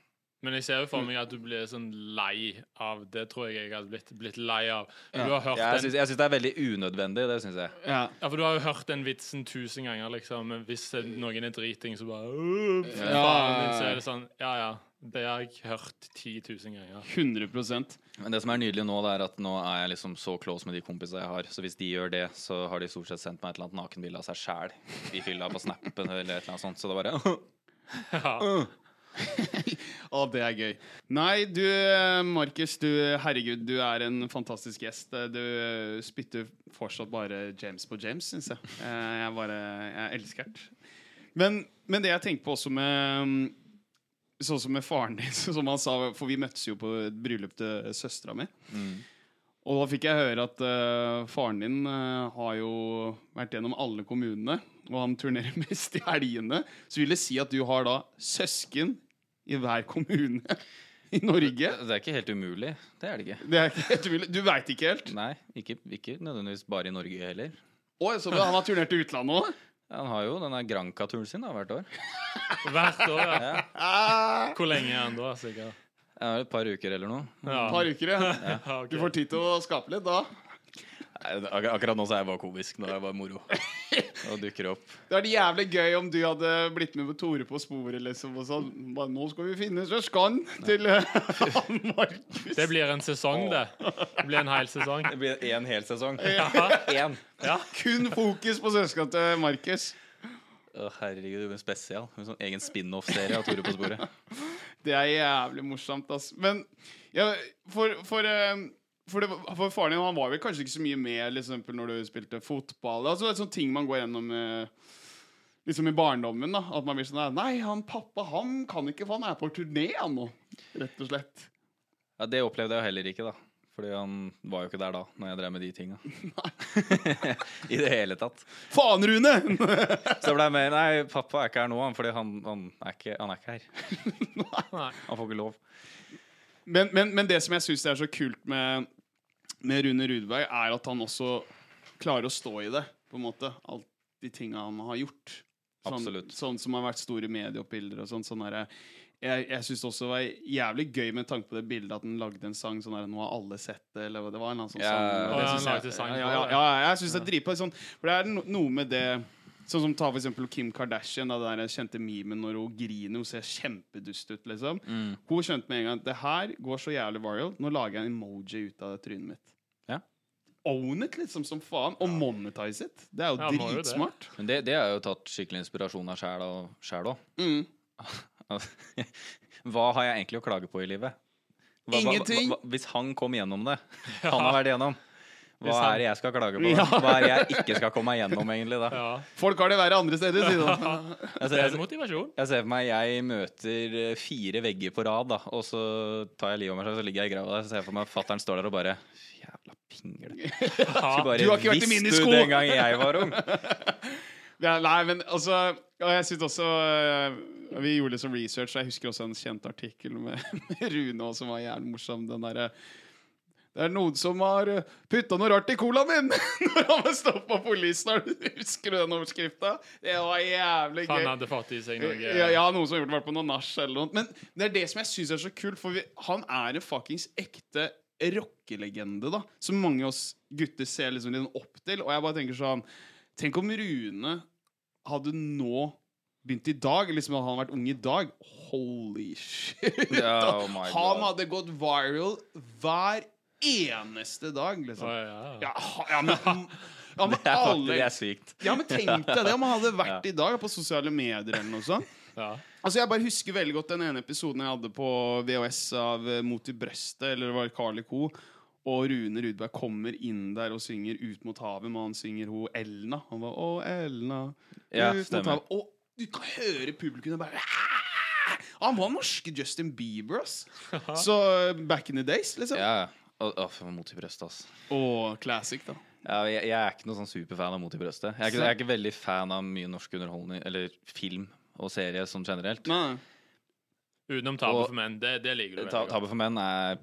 Men jeg ser jo for meg at du blir sånn lei av det, tror jeg jeg hadde blitt, blitt lei av. For
Ja.
Du har hørt
jeg
den,
syns, jeg syns det er veldig unødvendig, det syns jeg.
ja.
ja, for du har jo hørt den vitsen tusen ganger, liksom. Men Hvis det- noen er driting, så bare «Åh, fy
Ja.
faen din», Så er det sånn Ja, ja. Det har jeg hørt 10 000 ganger.
100
Men det som er nydelig nå, det er at nå er jeg liksom så close med de kompisene jeg har. Så hvis de gjør det, så har de stort sett sendt meg et eller annet nakenbilde av seg sjæl i fylla på snappen eller et eller annet sånt. Så det er bare
Ja.
Å, det er gøy. Nei, du eh, Markus, du herregud, du er en fantastisk gjest. Eh, Du eh, spytter fortsatt bare James på James, syns jeg. Eh, Jeg bare Jeg elsker det. Men, men det jeg tenker på også med mm, Sånn som med faren din, som han sa, for vi møttes jo på et bryllup til søstera mi. Og da fikk jeg høre at eh, faren din eh, har jo vært gjennom alle kommunene, og han turnerer mest i helgene. Så vil det si at du har da søsken i hver kommune i Norge?
Det er ikke helt umulig. Det er det ikke.
Det er ikke helt umulig. Du veit ikke helt?
Nei, ikke, ikke nødvendigvis bare i Norge heller.
Oi, så han har turnert i utlandet òg?
Han har jo denne Granca-turen sin da, hvert år.
Hvert år. Ja.
Ja.
Hvor lenge er den da, sikkert?
Det er Et par uker eller noe.
Ja.
Et par uker, ja.
Ja, ok.
Du får tid til å skape litt da.
Nei, det- ak akkurat nå så er jeg bare komisk. Nå er jeg bare moro. Og dukker opp.
Det hadde jævlig gøy om du hadde blitt med på Tore på sporet, liksom. Og sånn. Bare, nå skal vi finne søsken til eh, han Markus.
Det blir en sesong, det. Det blir en hel sesong.
Det blir én hel sesong.
Ja.
Én.
Ja.
Kun fokus på søskena til Markus.
Å, herregud, det blir spesial. En sånn egen spin-off-serie av Tore på sporet.
Det er jævlig morsomt, ass. Men ja, for, for, eh, for, det, for faren din han var vel kanskje ikke så mye med liksom, når du spilte fotball. Altså, det er sånne ting man går gjennom eh, liksom i barndommen. da At man blir sånn der, Nei, han pappa han kan ikke, for han er på turné han nå. Rett og slett.
Ja, Det opplevde jeg heller ikke, da. Fordi han var jo ikke der da, når jeg drev med de tinga. I det hele tatt.
Faen, Rune!
Så det ble mer Nei, pappa er ikke her nå, han, fordi han, han, er ikke, han er ikke her.
Nei.
Han får ikke lov.
men, men, men det som jeg syns er så kult med, med Rune Rudberg, er at han også klarer å stå i det. På en måte Alt de tinga han har gjort. Sånn,
Absolutt.
sånn som har vært store medieoppbilder og sånn. sånn derre- jeg jeg syns også det var jævlig gøy med tanke på det bildet at han lagde en sang sånn der, 'Nå har alle sett det', eller hva- det var en eller annen sånn
Ja,
sang. og det
ja,
synes
han
jeg-
lagde sang
ja,
på
ja,
det.
ja, ja, jeg syns det er dritbra. Sånn, for det er no, noe med det Sånn som ta for eksempel Kim Kardashian, da, den der kjente memen når hun griner. Hun ser kjempedust ut, liksom. Hun skjønte med en gang at det her går så jævlig viral. Nå lager jeg en emoji ut av det trynet mitt.
Ja.
Own it, liksom, som faen. Og monetize it. Det er jo
Ja, må jo det.
dritsmart.
Men det, det er jo tatt skikkelig inspirasjon av sjæl og sjæl òg.
Mm.
Altså, Hva har jeg egentlig å klage på i livet? Hva- hva-
Ingenting.
hva- hva- Hvis han kom gjennom det, han har vært igjennom, hva
Hvis han-
er det jeg skal klage på?
Ja.
Da? Hva er det jeg ikke skal komme meg gjennom, egentlig? da?
Ja.
Folk har det verre andre steder, sier han.
Altså,
Det er en
jeg,
motivasjon.
jeg ser for meg jeg møter eh, fire vegger på rad, da, og så tar jeg livet av meg selv, så ligger jeg i grava der, så ser jeg for meg fatter'n står der og bare Jævla pingle.
Ja.
Bare,
Du har ikke vært i
visst
mine
du
sko!»
Den gang jeg var ung.
Ja, nei, men altså Og jeg synes også øh, Vi gjorde litt sånn research, og jeg husker også en kjent artikkel med, med Rune også, som var jævlig morsom. Den derre det er noen som har øh, putta noe rart i colaen min! Når han ble stoppa av politiet. Har du- Husker du den overskrifta? Det var jævlig gøy.
Han hadde fått i seg noe
eh,
Ja, ja, noen som har gjort det vært på noe nach eller noe. Men det er det som jeg syns er så kult, for vi, han er en fuckings ekte rockelegende, da. Som mange av oss gutter ser liksom litt opp til. Og jeg bare tenker sånn Tenk om Rune hadde nå begynt i dag, liksom hadde han vært ung i dag. Holy shit!
Ja, oh my
han
God.
hadde gått viral hver eneste dag,
eh, Å,
liksom.
ja.
Ja, ha- ja, men, ja, men
Det er faktisk
alle
det er sykt.
Ja, men tenk deg det om han hadde vært i dag på sosiale medier eller noe sånt.
Ja.
Altså Jeg bare husker veldig godt den ene episoden jeg hadde på VHS av eh, Mot i brøstet, eller det var Carly Co. Og Rune Rudberg kommer inn der og synger Ut mot havet, men han synger ho Elna. Han var Å, Elna.
Ja,
ut mot
stemmer.
havet. Og du kan høre publikum bare «Aah!» Han var norske Justin Bieber, ass. Så eh, back in the days, liksom.
Ja, ja. Å, å, for mot i brystet, altså.
Og classic, da.
Ja, jeg, jeg er ikke noe sånn superfan av Mot i brøstet. Jeg er, ikke, jeg er ikke veldig fan av mye norsk underholdning, eller film og serie sånn generelt.
Nei.
Utenom tabu
Og-
for menn. Det, det liker du. veldig
Ta,
godt.
Tabu for menn er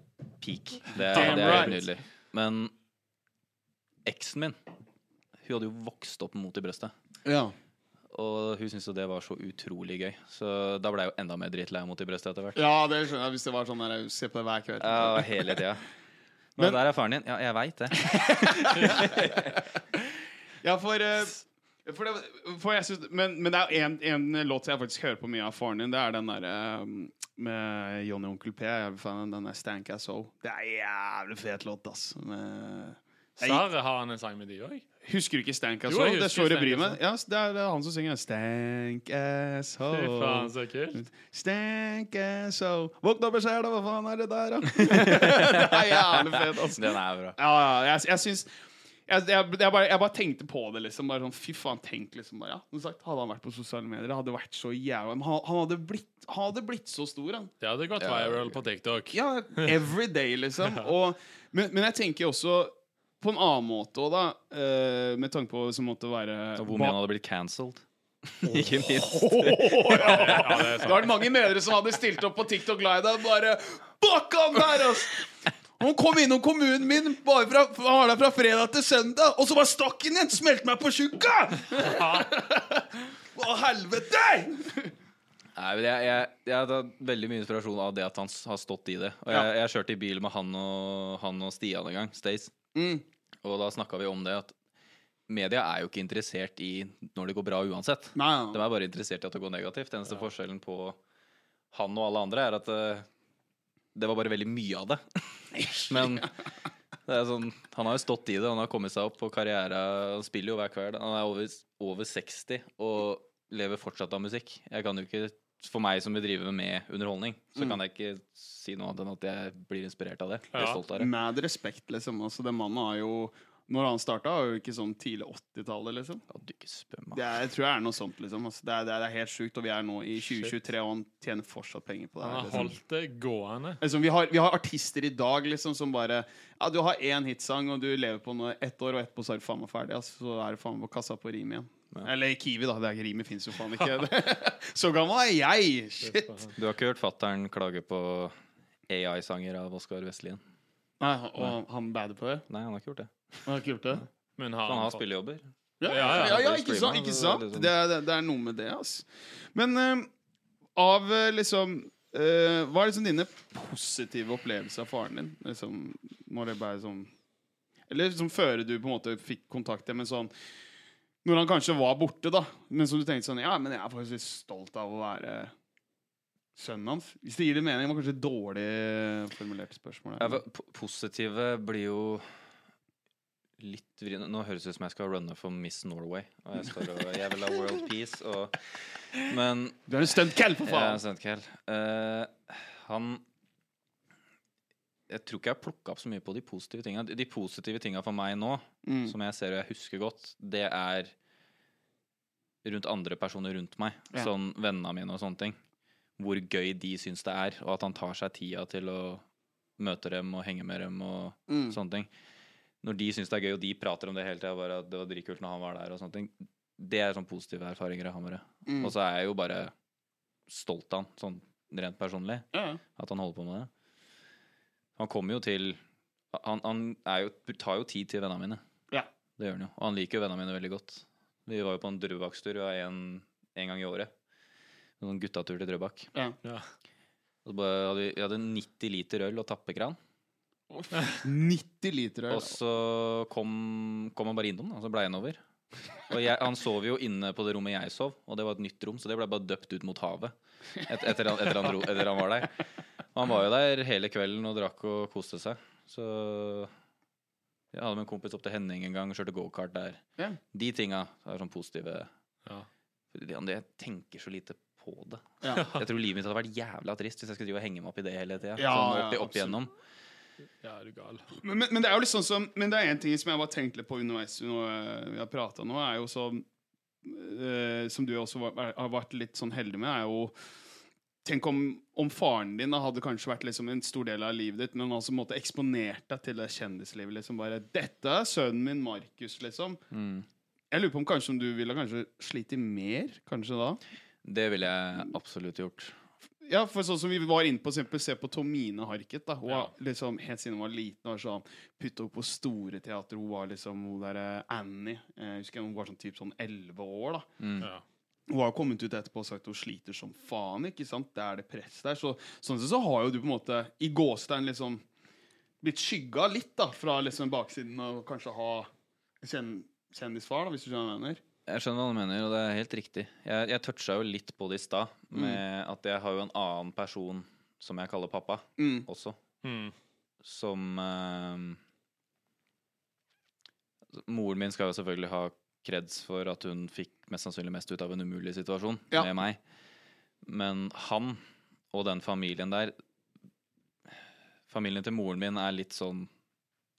peak. Det, er-
Damn
det er
right.
helt nydelig. Men eksen min, hun hadde jo vokst opp med Mot i brøstet.
Ja.
Og hun syntes jo det var så utrolig gøy. Så da ble jeg jo enda mer dritlei av Mot i brøstet etter hvert.
ja, det skjønner jeg hvis det var sånn der Se på det hver kveld.
Ja, hele tida. Men,
Men-
der er faren din. Ja, jeg veit det.
Ja, for, eh, for, det, for jeg synes, men, men det er jo en, en låt jeg faktisk hører på mye av faren din. Det er den derre med Johnny og Onkel P. Jeg er fan av den der Stank Ass Soul. Det er en jævlig fet låt, ass. Med
Sverre har han en sang med de òg.
Husker du ikke Stank
Jo,
Asshole?
jeg
Det
husker
står i
Stank
brimen. Ja, det er, det er han som synger Stank
Fy faen,
Asshole.
så kult.
Stank Asshole. Våkn opp og se, da! Hva faen er det der, da? det er jævlig fet, altså.
Den er bra.
Ja, ja, jeg, jeg syns jeg, jeg, jeg, bare, jeg bare tenkte på det, liksom. Bare sånn, fy faen, tenk liksom bare, ja. Som sagt, Hadde han vært på sosiale medier, det hadde vært så jævla Men han, han, hadde blitt, han hadde blitt så stor, han.
Det hadde gått
Ja,
viral
ja.
på TikTok.
Ja, every day, liksom. Og, men, men jeg tenker også på en annen måte òg, da. eh, med tanke på som måtte være
Og hvor mye han hadde blitt cancelled. Ikke minst.
Ja, det er
Da er
sant.
det mange mødre som hadde stilt opp på TikTok Live og bare Fuck han der, ass! Han kom innom kommunen min bare fra, han var der fra fredag til søndag, og så bare stakk han igjen! Smelte meg på tjukka! Hva helvete!
Nei, men jeg, jeg, jeg hadde hatt veldig mye inspirasjon av det at han s- har stått i det. Og jeg, jeg kjørte i bil med han og, han og Stian en gang, Stace,
Mm,
og da snakka vi om det at media er jo ikke interessert i når det går bra uansett.
Nei,
De er bare interessert i at det går negativt. Eneste forskjellen på han og alle andre er at eh, det var bare veldig mye av det. Men det er sånn, han har jo stått i det, han har kommet seg opp på karriere. Han spiller jo hver kveld. Han er over, over 60 og lever fortsatt av musikk. Jeg kan jo ikke, For meg som vil drive med underholdning, så kan jeg ikke si noe annet enn at jeg blir inspirert av det. Jeg er
Ja.
stolt av det.
Med respekt, liksom. Altså, den mannen har jo Når han starta, var jo ikke sånn tidlig 80-tallet, liksom.
Ja, du ikke spør
Det
meg.
er, jeg tror jeg er noe sånt, liksom. Altså, det, er, det, er, det er helt sjukt, og vi er nå i 2023, og han tjener fortsatt penger på det.
Han
her,
har
liksom.
holdt det gående.
Altså, vi, har, vi har artister i dag liksom, som bare Ja, du har én hitsang, og du lever på noe ett år, og etterpå så er du faen meg ferdig. Altså, så er du faen meg på kassa på Rim igjen. Eller Kiwi, da. Det er ikke Rimi fins jo faen ikke. så gammel er jeg! Shit.
Du har ikke hørt fattern klage på AI-sanger av Oskar Vestlien?
Nei, og han bader på det?
Nei, han har ikke gjort det.
Han har ikke gjort det?
Men har
Han har
fått-
spillejobber.
Ja, ja,
Ja, ja,
ja,
det blir
ikke sant?
streamet,
Ikke
så
sant?
det er liksom-
Det, er, det er noe med det, altså. Men eh, av eh, liksom eh, Hva er liksom dine positive opplevelser av faren din? Liksom, når det ble sånn Eller liksom før du på en måte fikk kontakt med sånn Når han kanskje var borte, da, men som du tenkte sånn Ja, men jeg er faktisk litt stolt av å være sønnen hans. Hvis det gir det mening. Det var kanskje et dårlig eh, formulert spørsmål.
Ja,
her.
for po- positive blir jo litt vriene. Nå høres det ut som jeg skal runne for Miss Norway. Og jeg, står og, jeg vil ha world peace og Men
Du er en stuntkall, for
jeg er
faen!
en sentkveld. Eh, han Jeg tror ikke jeg har plukka opp så mye på de positive tinga. De de positive tinga for meg nå,
Mm.
som jeg ser og jeg husker godt, det er rundt andre personer rundt meg.
Ja.
Sånn vennene mine og sånne ting. Hvor gøy de syns det er, og at han tar seg tida til å møte dem og henge med dem og
Mm.
sånne ting. Når de syns det er gøy, og de prater om det hele tida, bare at det var dritkult når han var der og sånne ting. Det er sånn positive erfaringer av Hammerøe.
Mm.
Og så er jeg jo bare stolt av han, sånn rent personlig,
Ja, ja.
at han holder på med det. Han kommer jo til Han, han er jo, tar jo tid til vennene mine.
Ja.
Det gjør han jo. Og han liker jo vennene mine veldig godt. Vi var jo på en Drøbakstur vi var en, en gang i året. En sånn guttatur til Drøbak.
Ja.
Ja.
Og så bare hadde vi, vi hadde 90 liter øl og tappekran.
90 liter
Og så kom, kom han bare innom, da, og så blei han over. Og jeg, han sov jo inne på det rommet jeg sov, og det var et nytt rom, så det blei bare døpt ut mot havet. Et, etter, han, etter, han dro, etter han var der. Og han var jo der hele kvelden og drakk og koste seg. Så jeg hadde med en kompis opp til Henning en gang, kjørte gokart der.
Ja.
De tinga er sånn positive
Ja.
Fordi han- Jeg tenker så lite på det.
Ja.
Jeg tror livet mitt hadde vært jævla trist hvis jeg skulle drive og henge meg opp i det hele tida.
Ja,
sånn opp,
ja,
opp igjennom.
ja, er du gal.
Men, men, men det er jo litt sånn som Men det er en ting som jeg bare tenkte litt på underveis når øh, vi har prata nå, er jo eh, som øh, Som du også var, er, har vært litt sånn heldig med, er jo Tenk om, om faren din da hadde kanskje vært liksom en stor del av livet ditt, men han som måtte eksponert deg til det kjendislivet. liksom bare, 'Dette er sønnen min, Markus', liksom.
Mm.
Jeg lurer på om kanskje om du ville kanskje slite mer kanskje da?
Det ville jeg absolutt gjort.
Ja, for sånn som vi var inne på, for eksempel, se på Tomine Harket. da Hun
Ja.
var liksom, Helt siden hun var liten, var sånn putta opp på store teater. Hun var liksom hun der eh, Annie. Eh, Jeg husker Hun var sånn typ sånn 11 år. da
Mm.
Ja.
Hun har jo kommet ut etterpå og sagt at hun sliter som faen. ikke sant? Det er det press der. Så, sånn sett så har jo du på en måte i gåstein liksom blitt skygga litt da fra liksom baksiden og kanskje ha kjen kjendisfar, da, hvis du skjønner hva jeg mener.
Jeg skjønner hva du mener, og det er helt riktig. Jeg, jeg toucha jo litt på det i stad,
Mm.
med at jeg har jo en annen person som jeg kaller pappa
Mm.
også,
Mm.
som eh, Moren min skal jo selvfølgelig ha kreds for at hun fikk mest sannsynlig mest ut av en umulig situasjon
Ja.
med meg. Men han og den familien der Familien til moren min er litt sånn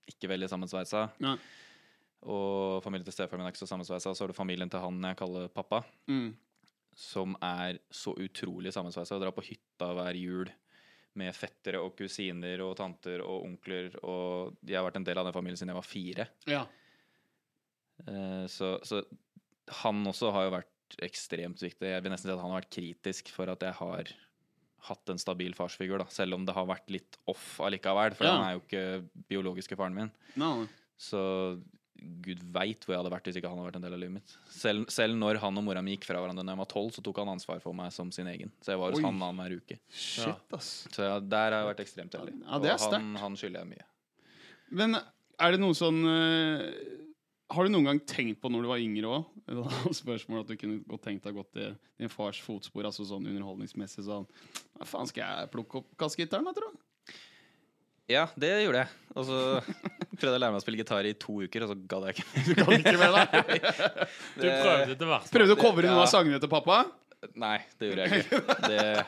ikke veldig sammensveisa.
Nei.
Og familien til stefaren min er ikke så sammensveisa. Og så er det familien til han jeg kaller pappa,
Mm.
som er så utrolig sammensveisa. Drar på hytta hver jul med fettere og kusiner og tanter og onkler. Og jeg har vært en del av den familien siden jeg var fire.
Ja.
Eh, Så, så han også har jo vært ekstremt viktig. Jeg vil nesten si at han har vært kritisk for at jeg har hatt en stabil farsfigur, da. Selv om det har vært litt off allikevel, for
Ja.
han er jo ikke biologiske faren min.
Nei, nei.
Så gud veit hvor jeg hadde vært hvis ikke han hadde vært en del av livet mitt. Selv, selv når han og mora mi gikk fra hverandre da jeg var tolv, så tok han ansvar for meg som sin egen. Så jeg var hos
Oi.
han annenhver uke.
Shit, ass.
Så ja, der har jeg vært ekstremt heldig.
Ja, det er
og han,
sterkt.
han skylder jeg mye.
Men er det noe sånn eh, Har du noen gang tenkt på når du var yngre òg? Spørsmål at du kunne godt tenkt deg gått i din fars fotspor, altså sånn underholdningsmessig sånn Hva faen skal jeg plukke opp kassegitaren, da, tro?
Ja, det gjorde jeg. Og så prøvde jeg å lære meg å spille gitar i to uker, og så gadd jeg ikke.
Du prøvde det verste.
Prøvde å covre noen
Ja.
av sangene til pappa?
Nei, det gjorde jeg ikke. Det,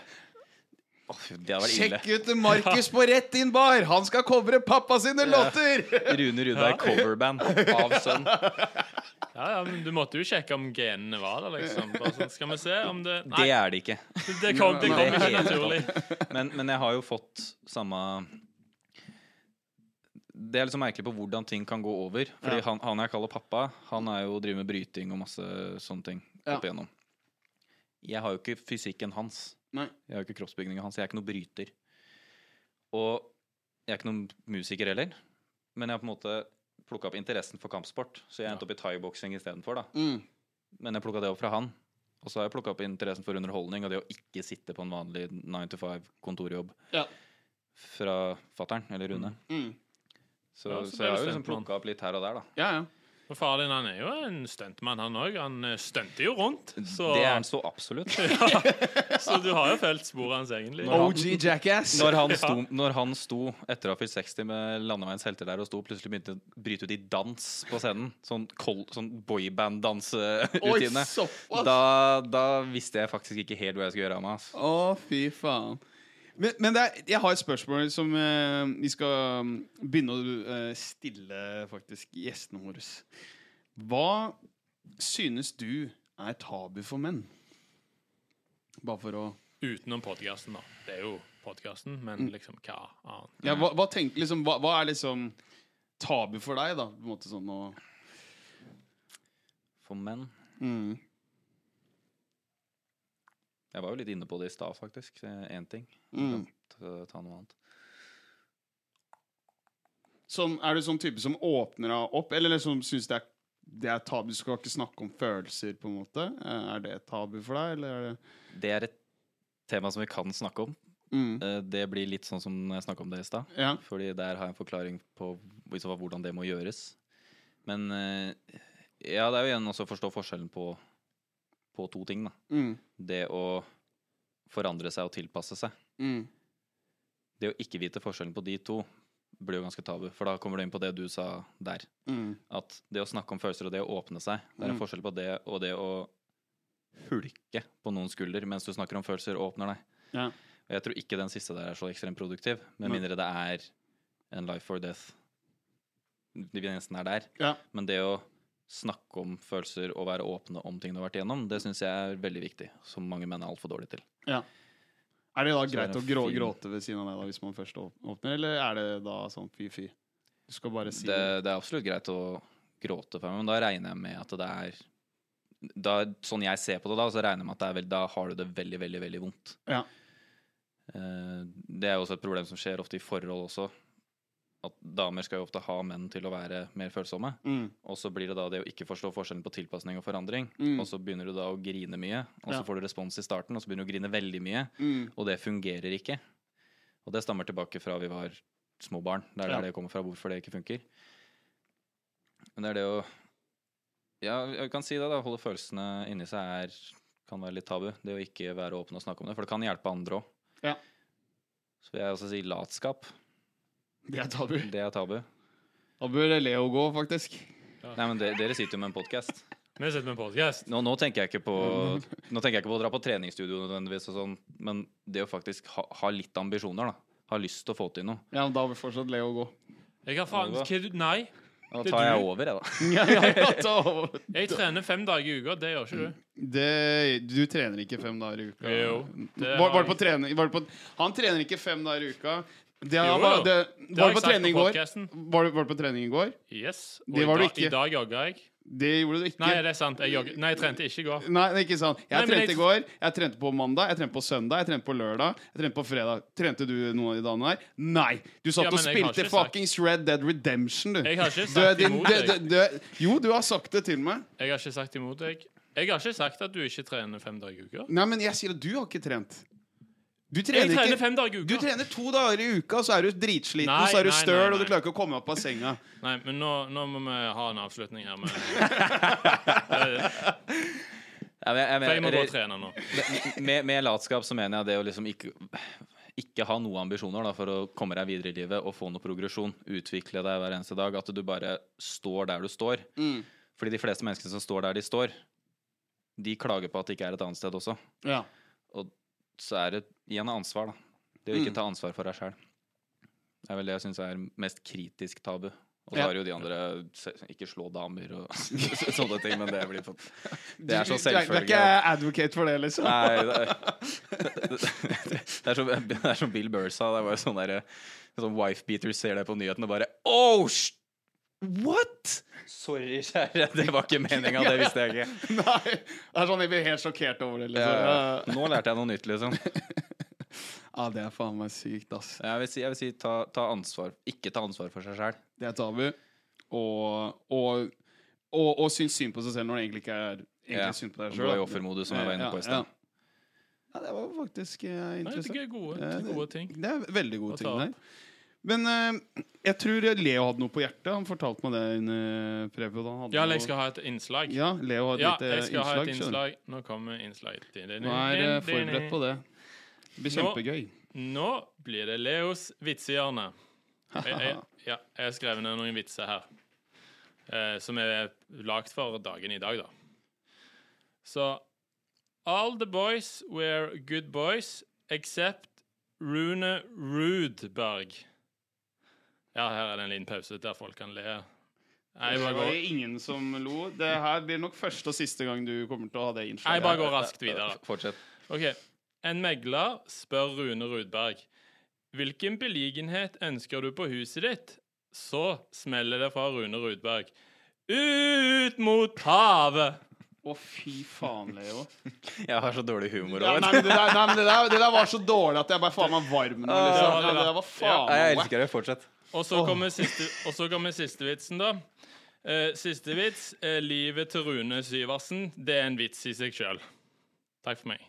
Åh, fy, det hadde vært ille.
Sjekk ut Markus på Rett Inn Bar! Han skal covre pappa sine låter!
Rune Rudberg coverband av Sønn.
Ja, ja, men Du måtte jo sjekke om genene var der, liksom. Bare sånn, skal vi se om det Nei,
Det er det ikke.
det kom, det kom
Nei,
ikke
helt
naturlig.
Men, men jeg har jo fått samme Det er liksom merkelig på hvordan ting kan gå over. Fordi
Ja.
han, han jeg kaller pappa, han er jo driver med bryting og masse sånne ting
Ja.
opp igjennom. Jeg har jo ikke fysikken hans.
Nei.
Jeg har jo ikke kroppsbygningen hans. Jeg er ikke noen bryter. Og jeg er ikke noen musiker heller. Men jeg har på en måte plukka opp interessen for kampsport, så jeg endte opp i thaiboksing istedenfor. da.
Mm.
Men jeg plukka det opp fra han. Og så har jeg plukka opp interessen for underholdning og det å ikke sitte på en vanlig 9 to 5 kontorjobb
Ja.
fra fattern eller Rune.
Mm.
Så,
Ja, så
så
ble du
jeg har jo liksom
stuntmann.
plukka opp litt her og der, da.
Ja, ja.
Og faren din han er jo en stuntmann, han òg. Han eh, stunter jo rundt. Så,
Det er han så absolutt.
så du har jo fulgt sporet hans, egentlig.
Når han-
OG Jackass.
Når han sto, når han sto etter å ha fylt 60 med Landeveiens helter der og sto plutselig begynte å bryte ut i dans på scenen, sånn, kol- sånn
Oi,
boyband-danserutine,
såpass!
da, da visste jeg faktisk ikke helt hva jeg skulle gjøre av meg. ass.
Å, fy faen. Men, men det er, jeg har et spørsmål som eh, vi skal mm, begynne å eh, stille faktisk gjestene våre. Hva synes du er tabu for menn? Bare for å
Utenom podkasten, da. Det er jo podkasten,
Mm.
men liksom hva annet?
ja, hva, hva, tenker, liksom, hva, hva er liksom tabu for deg, da? På en måte sånn å
For menn.
mm.
Jeg var jo litt inne på det i stad, faktisk. Én ting.
Mm.
Ta- Ta noe annet.
Sånn, er du sånn type som åpner deg opp, eller liksom syns det er det er tabu, du skal ikke snakke om følelser, på en måte? Eh, Er det tabu for deg, eller er det
Det er et tema som vi kan snakke om.
mm.
Eh, Det blir litt sånn som jeg snakka om det i stad.
Ja.
Fordi der har jeg en forklaring på i så fall hvordan det må gjøres. Men eh, ja, det er jo igjen også å forstå forskjellen på, på to ting. da.
Mm.
Det å forandre seg og tilpasse seg.
Mm.
Det å ikke vite forskjellen på de to blir jo ganske tabu. For da kommer du inn på det du sa der.
Mm.
At det å snakke om følelser og det å åpne seg, det er en
Mm.
forskjell på det og det å hulke på noen skulder mens du snakker om følelser og åpner deg.
Ja.
Og jeg tror ikke den siste der er så ekstremt produktiv, med
Nei.
mindre det er en life or death. Vi nesten er der.
Ja.
Men det å snakke om følelser og være åpne om ting du har vært igjennom, det syns jeg er veldig viktig, som mange menn er altfor dårlige til.
Er det da
Så er
greit
det
å grå,
fin-
gråte ved siden av deg da, hvis man først å- åpner, eller er det da sånn fy-fy? Du skal bare si
Det, det er absolutt greit å gråte for meg, men da regner jeg med at det er da, Sånn jeg ser på det da, så regner jeg med at det er veld, da har du det veldig, veldig, veldig vondt.
Ja.
Eh, Det er jo også et problem som skjer ofte i forhold også. At damer skal jo ofte ha menn til å være mer følsomme.
Mm.
Og så blir det da det å ikke forstå forskjellen på tilpasning og forandring.
Mm.
Og så begynner du da å grine mye, og så
Ja.
får du respons i starten, og så begynner du å grine veldig mye.
Mm.
Og det fungerer ikke. Og det stammer tilbake fra vi var små barn. Det er der
Ja.
det kommer fra hvorfor det ikke funker. Men det er det å Ja, jeg kan si det, da. Holde følelsene inni seg er, kan være litt tabu. Det å ikke være åpen og snakke om det. For det kan hjelpe andre òg.
Ja.
Så vil jeg også si latskap.
Det er tabu.
Det er tabu.
Da bør Leo gå, faktisk.
Nei, men de, dere sitter jo med en podkast.
Vi sitter med podkast.
Nå, nå, tenker jeg ikke på, nå tenker jeg ikke på å dra på treningsstudio nødvendigvis, og sånn, men det å faktisk ha, ha litt ambisjoner, da. Ha lyst til å få til noe.
Ja, men da vil fortsatt Leo gå.
Jeg har faen
Alva.
ikke Nei.
Da
Det er
tar jeg
du.
over, jeg, da.
Ja, ja, ja, da- Mm.
Jeg trener fem dager i uka. Det gjør ikke du.
det, du trener ikke fem dager i uka.
Jo,
var,
det
var
har-
det på trening var det på, Han trener ikke fem dager i uka. Det,
Jo,
var, det,
jo.
var det
Det har jeg
på
sagt
trening i går?
podcasten.
Var det, var det på trening i går?
Yes. Og
Det
i
var du
da-
ikke.
I dag jogga jeg.
Det gjorde du ikke.
Nei, det er sant. Jeg jogger. Nei, jeg trente ikke i går.
Nei, det er ikke sant. Jeg
Nei, men
trente
jeg-
i går, jeg trente på mandag, jeg trente på søndag, jeg trente på lørdag, jeg trente på fredag. Trente du noe i dagene der? Nei! Du satt
Ja,
og
men jeg har
spilte
ikke sagt-
fuckings Red Dead Redemption, du.
Jeg har ikke
Du er
sagt
din-
imot
du- du-
deg.
du- Jo, du har sagt det til meg.
Jeg har ikke sagt imot deg. Jeg har ikke sagt at du ikke trener fem dager i uka.
Nei, men jeg sier at du har ikke trent. Du trener
Jeg trener
ikke
fem dager i
du
uka.
trener to dager i uka, så er du dritsliten,
Nei,
så er du
nei, nei,
støl, og
nei.
du klarer ikke å komme opp av senga.
Nei, men nå, nå må vi ha en avslutning her. Med,
Ja, men jeg, jeg
for jeg må
mener-
gå og trene nå.
med, med latskap så mener jeg det å liksom ikke ikke ha noen ambisjoner da, for å komme deg videre i livet og få noe progresjon. Utvikle deg hver eneste dag. At du bare står der du står.
Mm.
Fordi de fleste menneskene som står der de står, de klager på at det ikke er et annet sted også.
Ja.
Så er det igjen ansvar, da. Det å
Mm.
ikke ta ansvar for deg sjæl. Det er vel det jeg syns er mest kritisk tabu. Og så
Ja.
har jo de andre se- Ikke slå damer og sånne ting, men det blir for Det er
Du-
så
du er- Du er
selvfølgelig.
ikke advocate for det, liksom?
Nei, det, det, det, det, er som, det er som Bill Burr sa. Det var jo sånn derre Sånn wifebeater ser det på nyhetene og bare Oh, sh what?! Sorry, kjære. Det var ikke meninga, det visste jeg ikke.
Nei, det er sånn jeg blir helt sjokkert over det. Liksom.
Eh,
Ja.
nå lærte jeg noe nytt, liksom.
Ja, det er faen meg sykt, ass.
Jeg vil si, jeg vil si ta, ta ansvar. Ikke ta ansvar for seg sjæl.
Det er tabu. Og, og, og, og synes synd på seg selv når det egentlig ikke er egentlig
Ja,
synd på deg
og
selv
gå i
da.
offermodus, som jeg var inne på
Ja,
i
ja.
sted.
ja, det var faktisk eh,
Nei,
interessant.
det er gode,
Ja,
det er gode ting.
Det er veldig
Å
gode
ta
ting der. Men eh, jeg tror Leo hadde noe på hjertet. Han fortalte meg det under preview. da Han hadde
Ja, eller
noe-
jeg skal ha et innslag.
ja, Leo hadde
Ja,
et
jeg
lite
skal ha et
skjønner
innslag. Nå kommer innslaget.
du. Nå er eh, forberedt på det. Det blir
Nå-
kjempegøy.
Nå blir det Leos vitsehjørne. Jeg, jeg, ja, jeg har skrevet ned noen vitser her. Eh, som er lagd for dagen i dag, da. Så All the boys were good boys except Rune Rudberg. Ja, her er det en liten pause der folk kan le. Nei, jeg
Det
bare
var
går,
jo ingen som lo. Det her blir nok første og siste gang du kommer til å ha det
nei,
innslaget.
bare går raskt videre.
Eh, Fortsett.
Ok, En megler spør Rune Rudberg Hvilken beliggenhet ønsker du på huset ditt? Så smeller det fra Rune Rudberg. Ut mot havet!
Å, fy faen, Leo.
Jeg har så dårlig humor.
Ja,
Owen.
nei, men det, der, nei, men det, der, det der var så dårlig at jeg bare faen meg varm nå. Liksom.
Ja, det
Ja,
var-
det der var faen
Nei, jeg
meg wack.
elsker det. Fortsett.
Og så kommer, siste, og så kommer siste vitsen, da. Eh, siste vits. Eh, livet til Rune Syversen. Det er en vits i seg sjøl. Takk for meg.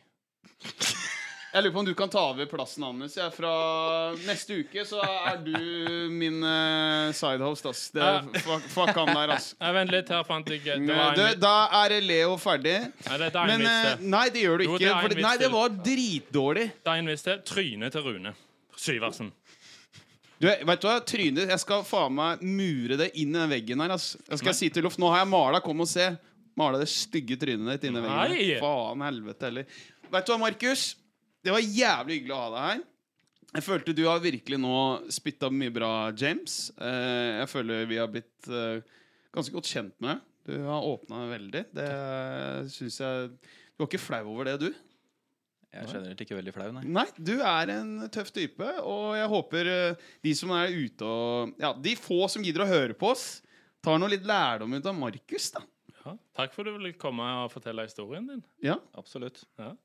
Jeg lurer på om du kan ta over plassen hans. Jeg, fra neste uke så er du min eh, sidehost, ass. Det,
Ja.
fuck, fuck han der, ass.
Nei, Vent litt, her fant jeg ikke
Du,
det var en,
da er Leo ferdig.
vits- Nei, dette er en
Men eh,
vits til.
Nei, det gjør du
Jo,
ikke.
det er en
fordi-
vits
nei, det
til.
var dritdårlig.
Det er en vits til. Trynet til Rune Syversen.
Du, vet du hva, trynet Jeg skal faen meg mure det inn i den veggen her. Ass. Jeg skal si til Loff Nå har jeg mala, kom og se. Mala det stygge trynet ditt inni veggen.
Nei!
her. Faen helvete heller. Vet du hva, Markus? Det var jævlig hyggelig å ha deg her. Jeg følte du har virkelig nå spytta mye bra, James. Eh, jeg føler vi har blitt eh, ganske godt kjent med deg. eh, Du har åpna veldig. Det syns jeg Du var ikke flau over det, du?
Jeg er generelt ikke veldig flau, nei.
Nei, du er en tøff type, og jeg håper eh, de som er ute og Ja, de få som gidder å høre på oss, tar noe litt lærdom ut av Markus, da.
Ja. Takk for at du ville komme og fortelle historien din.
Ja.
Absolutt.
Ja.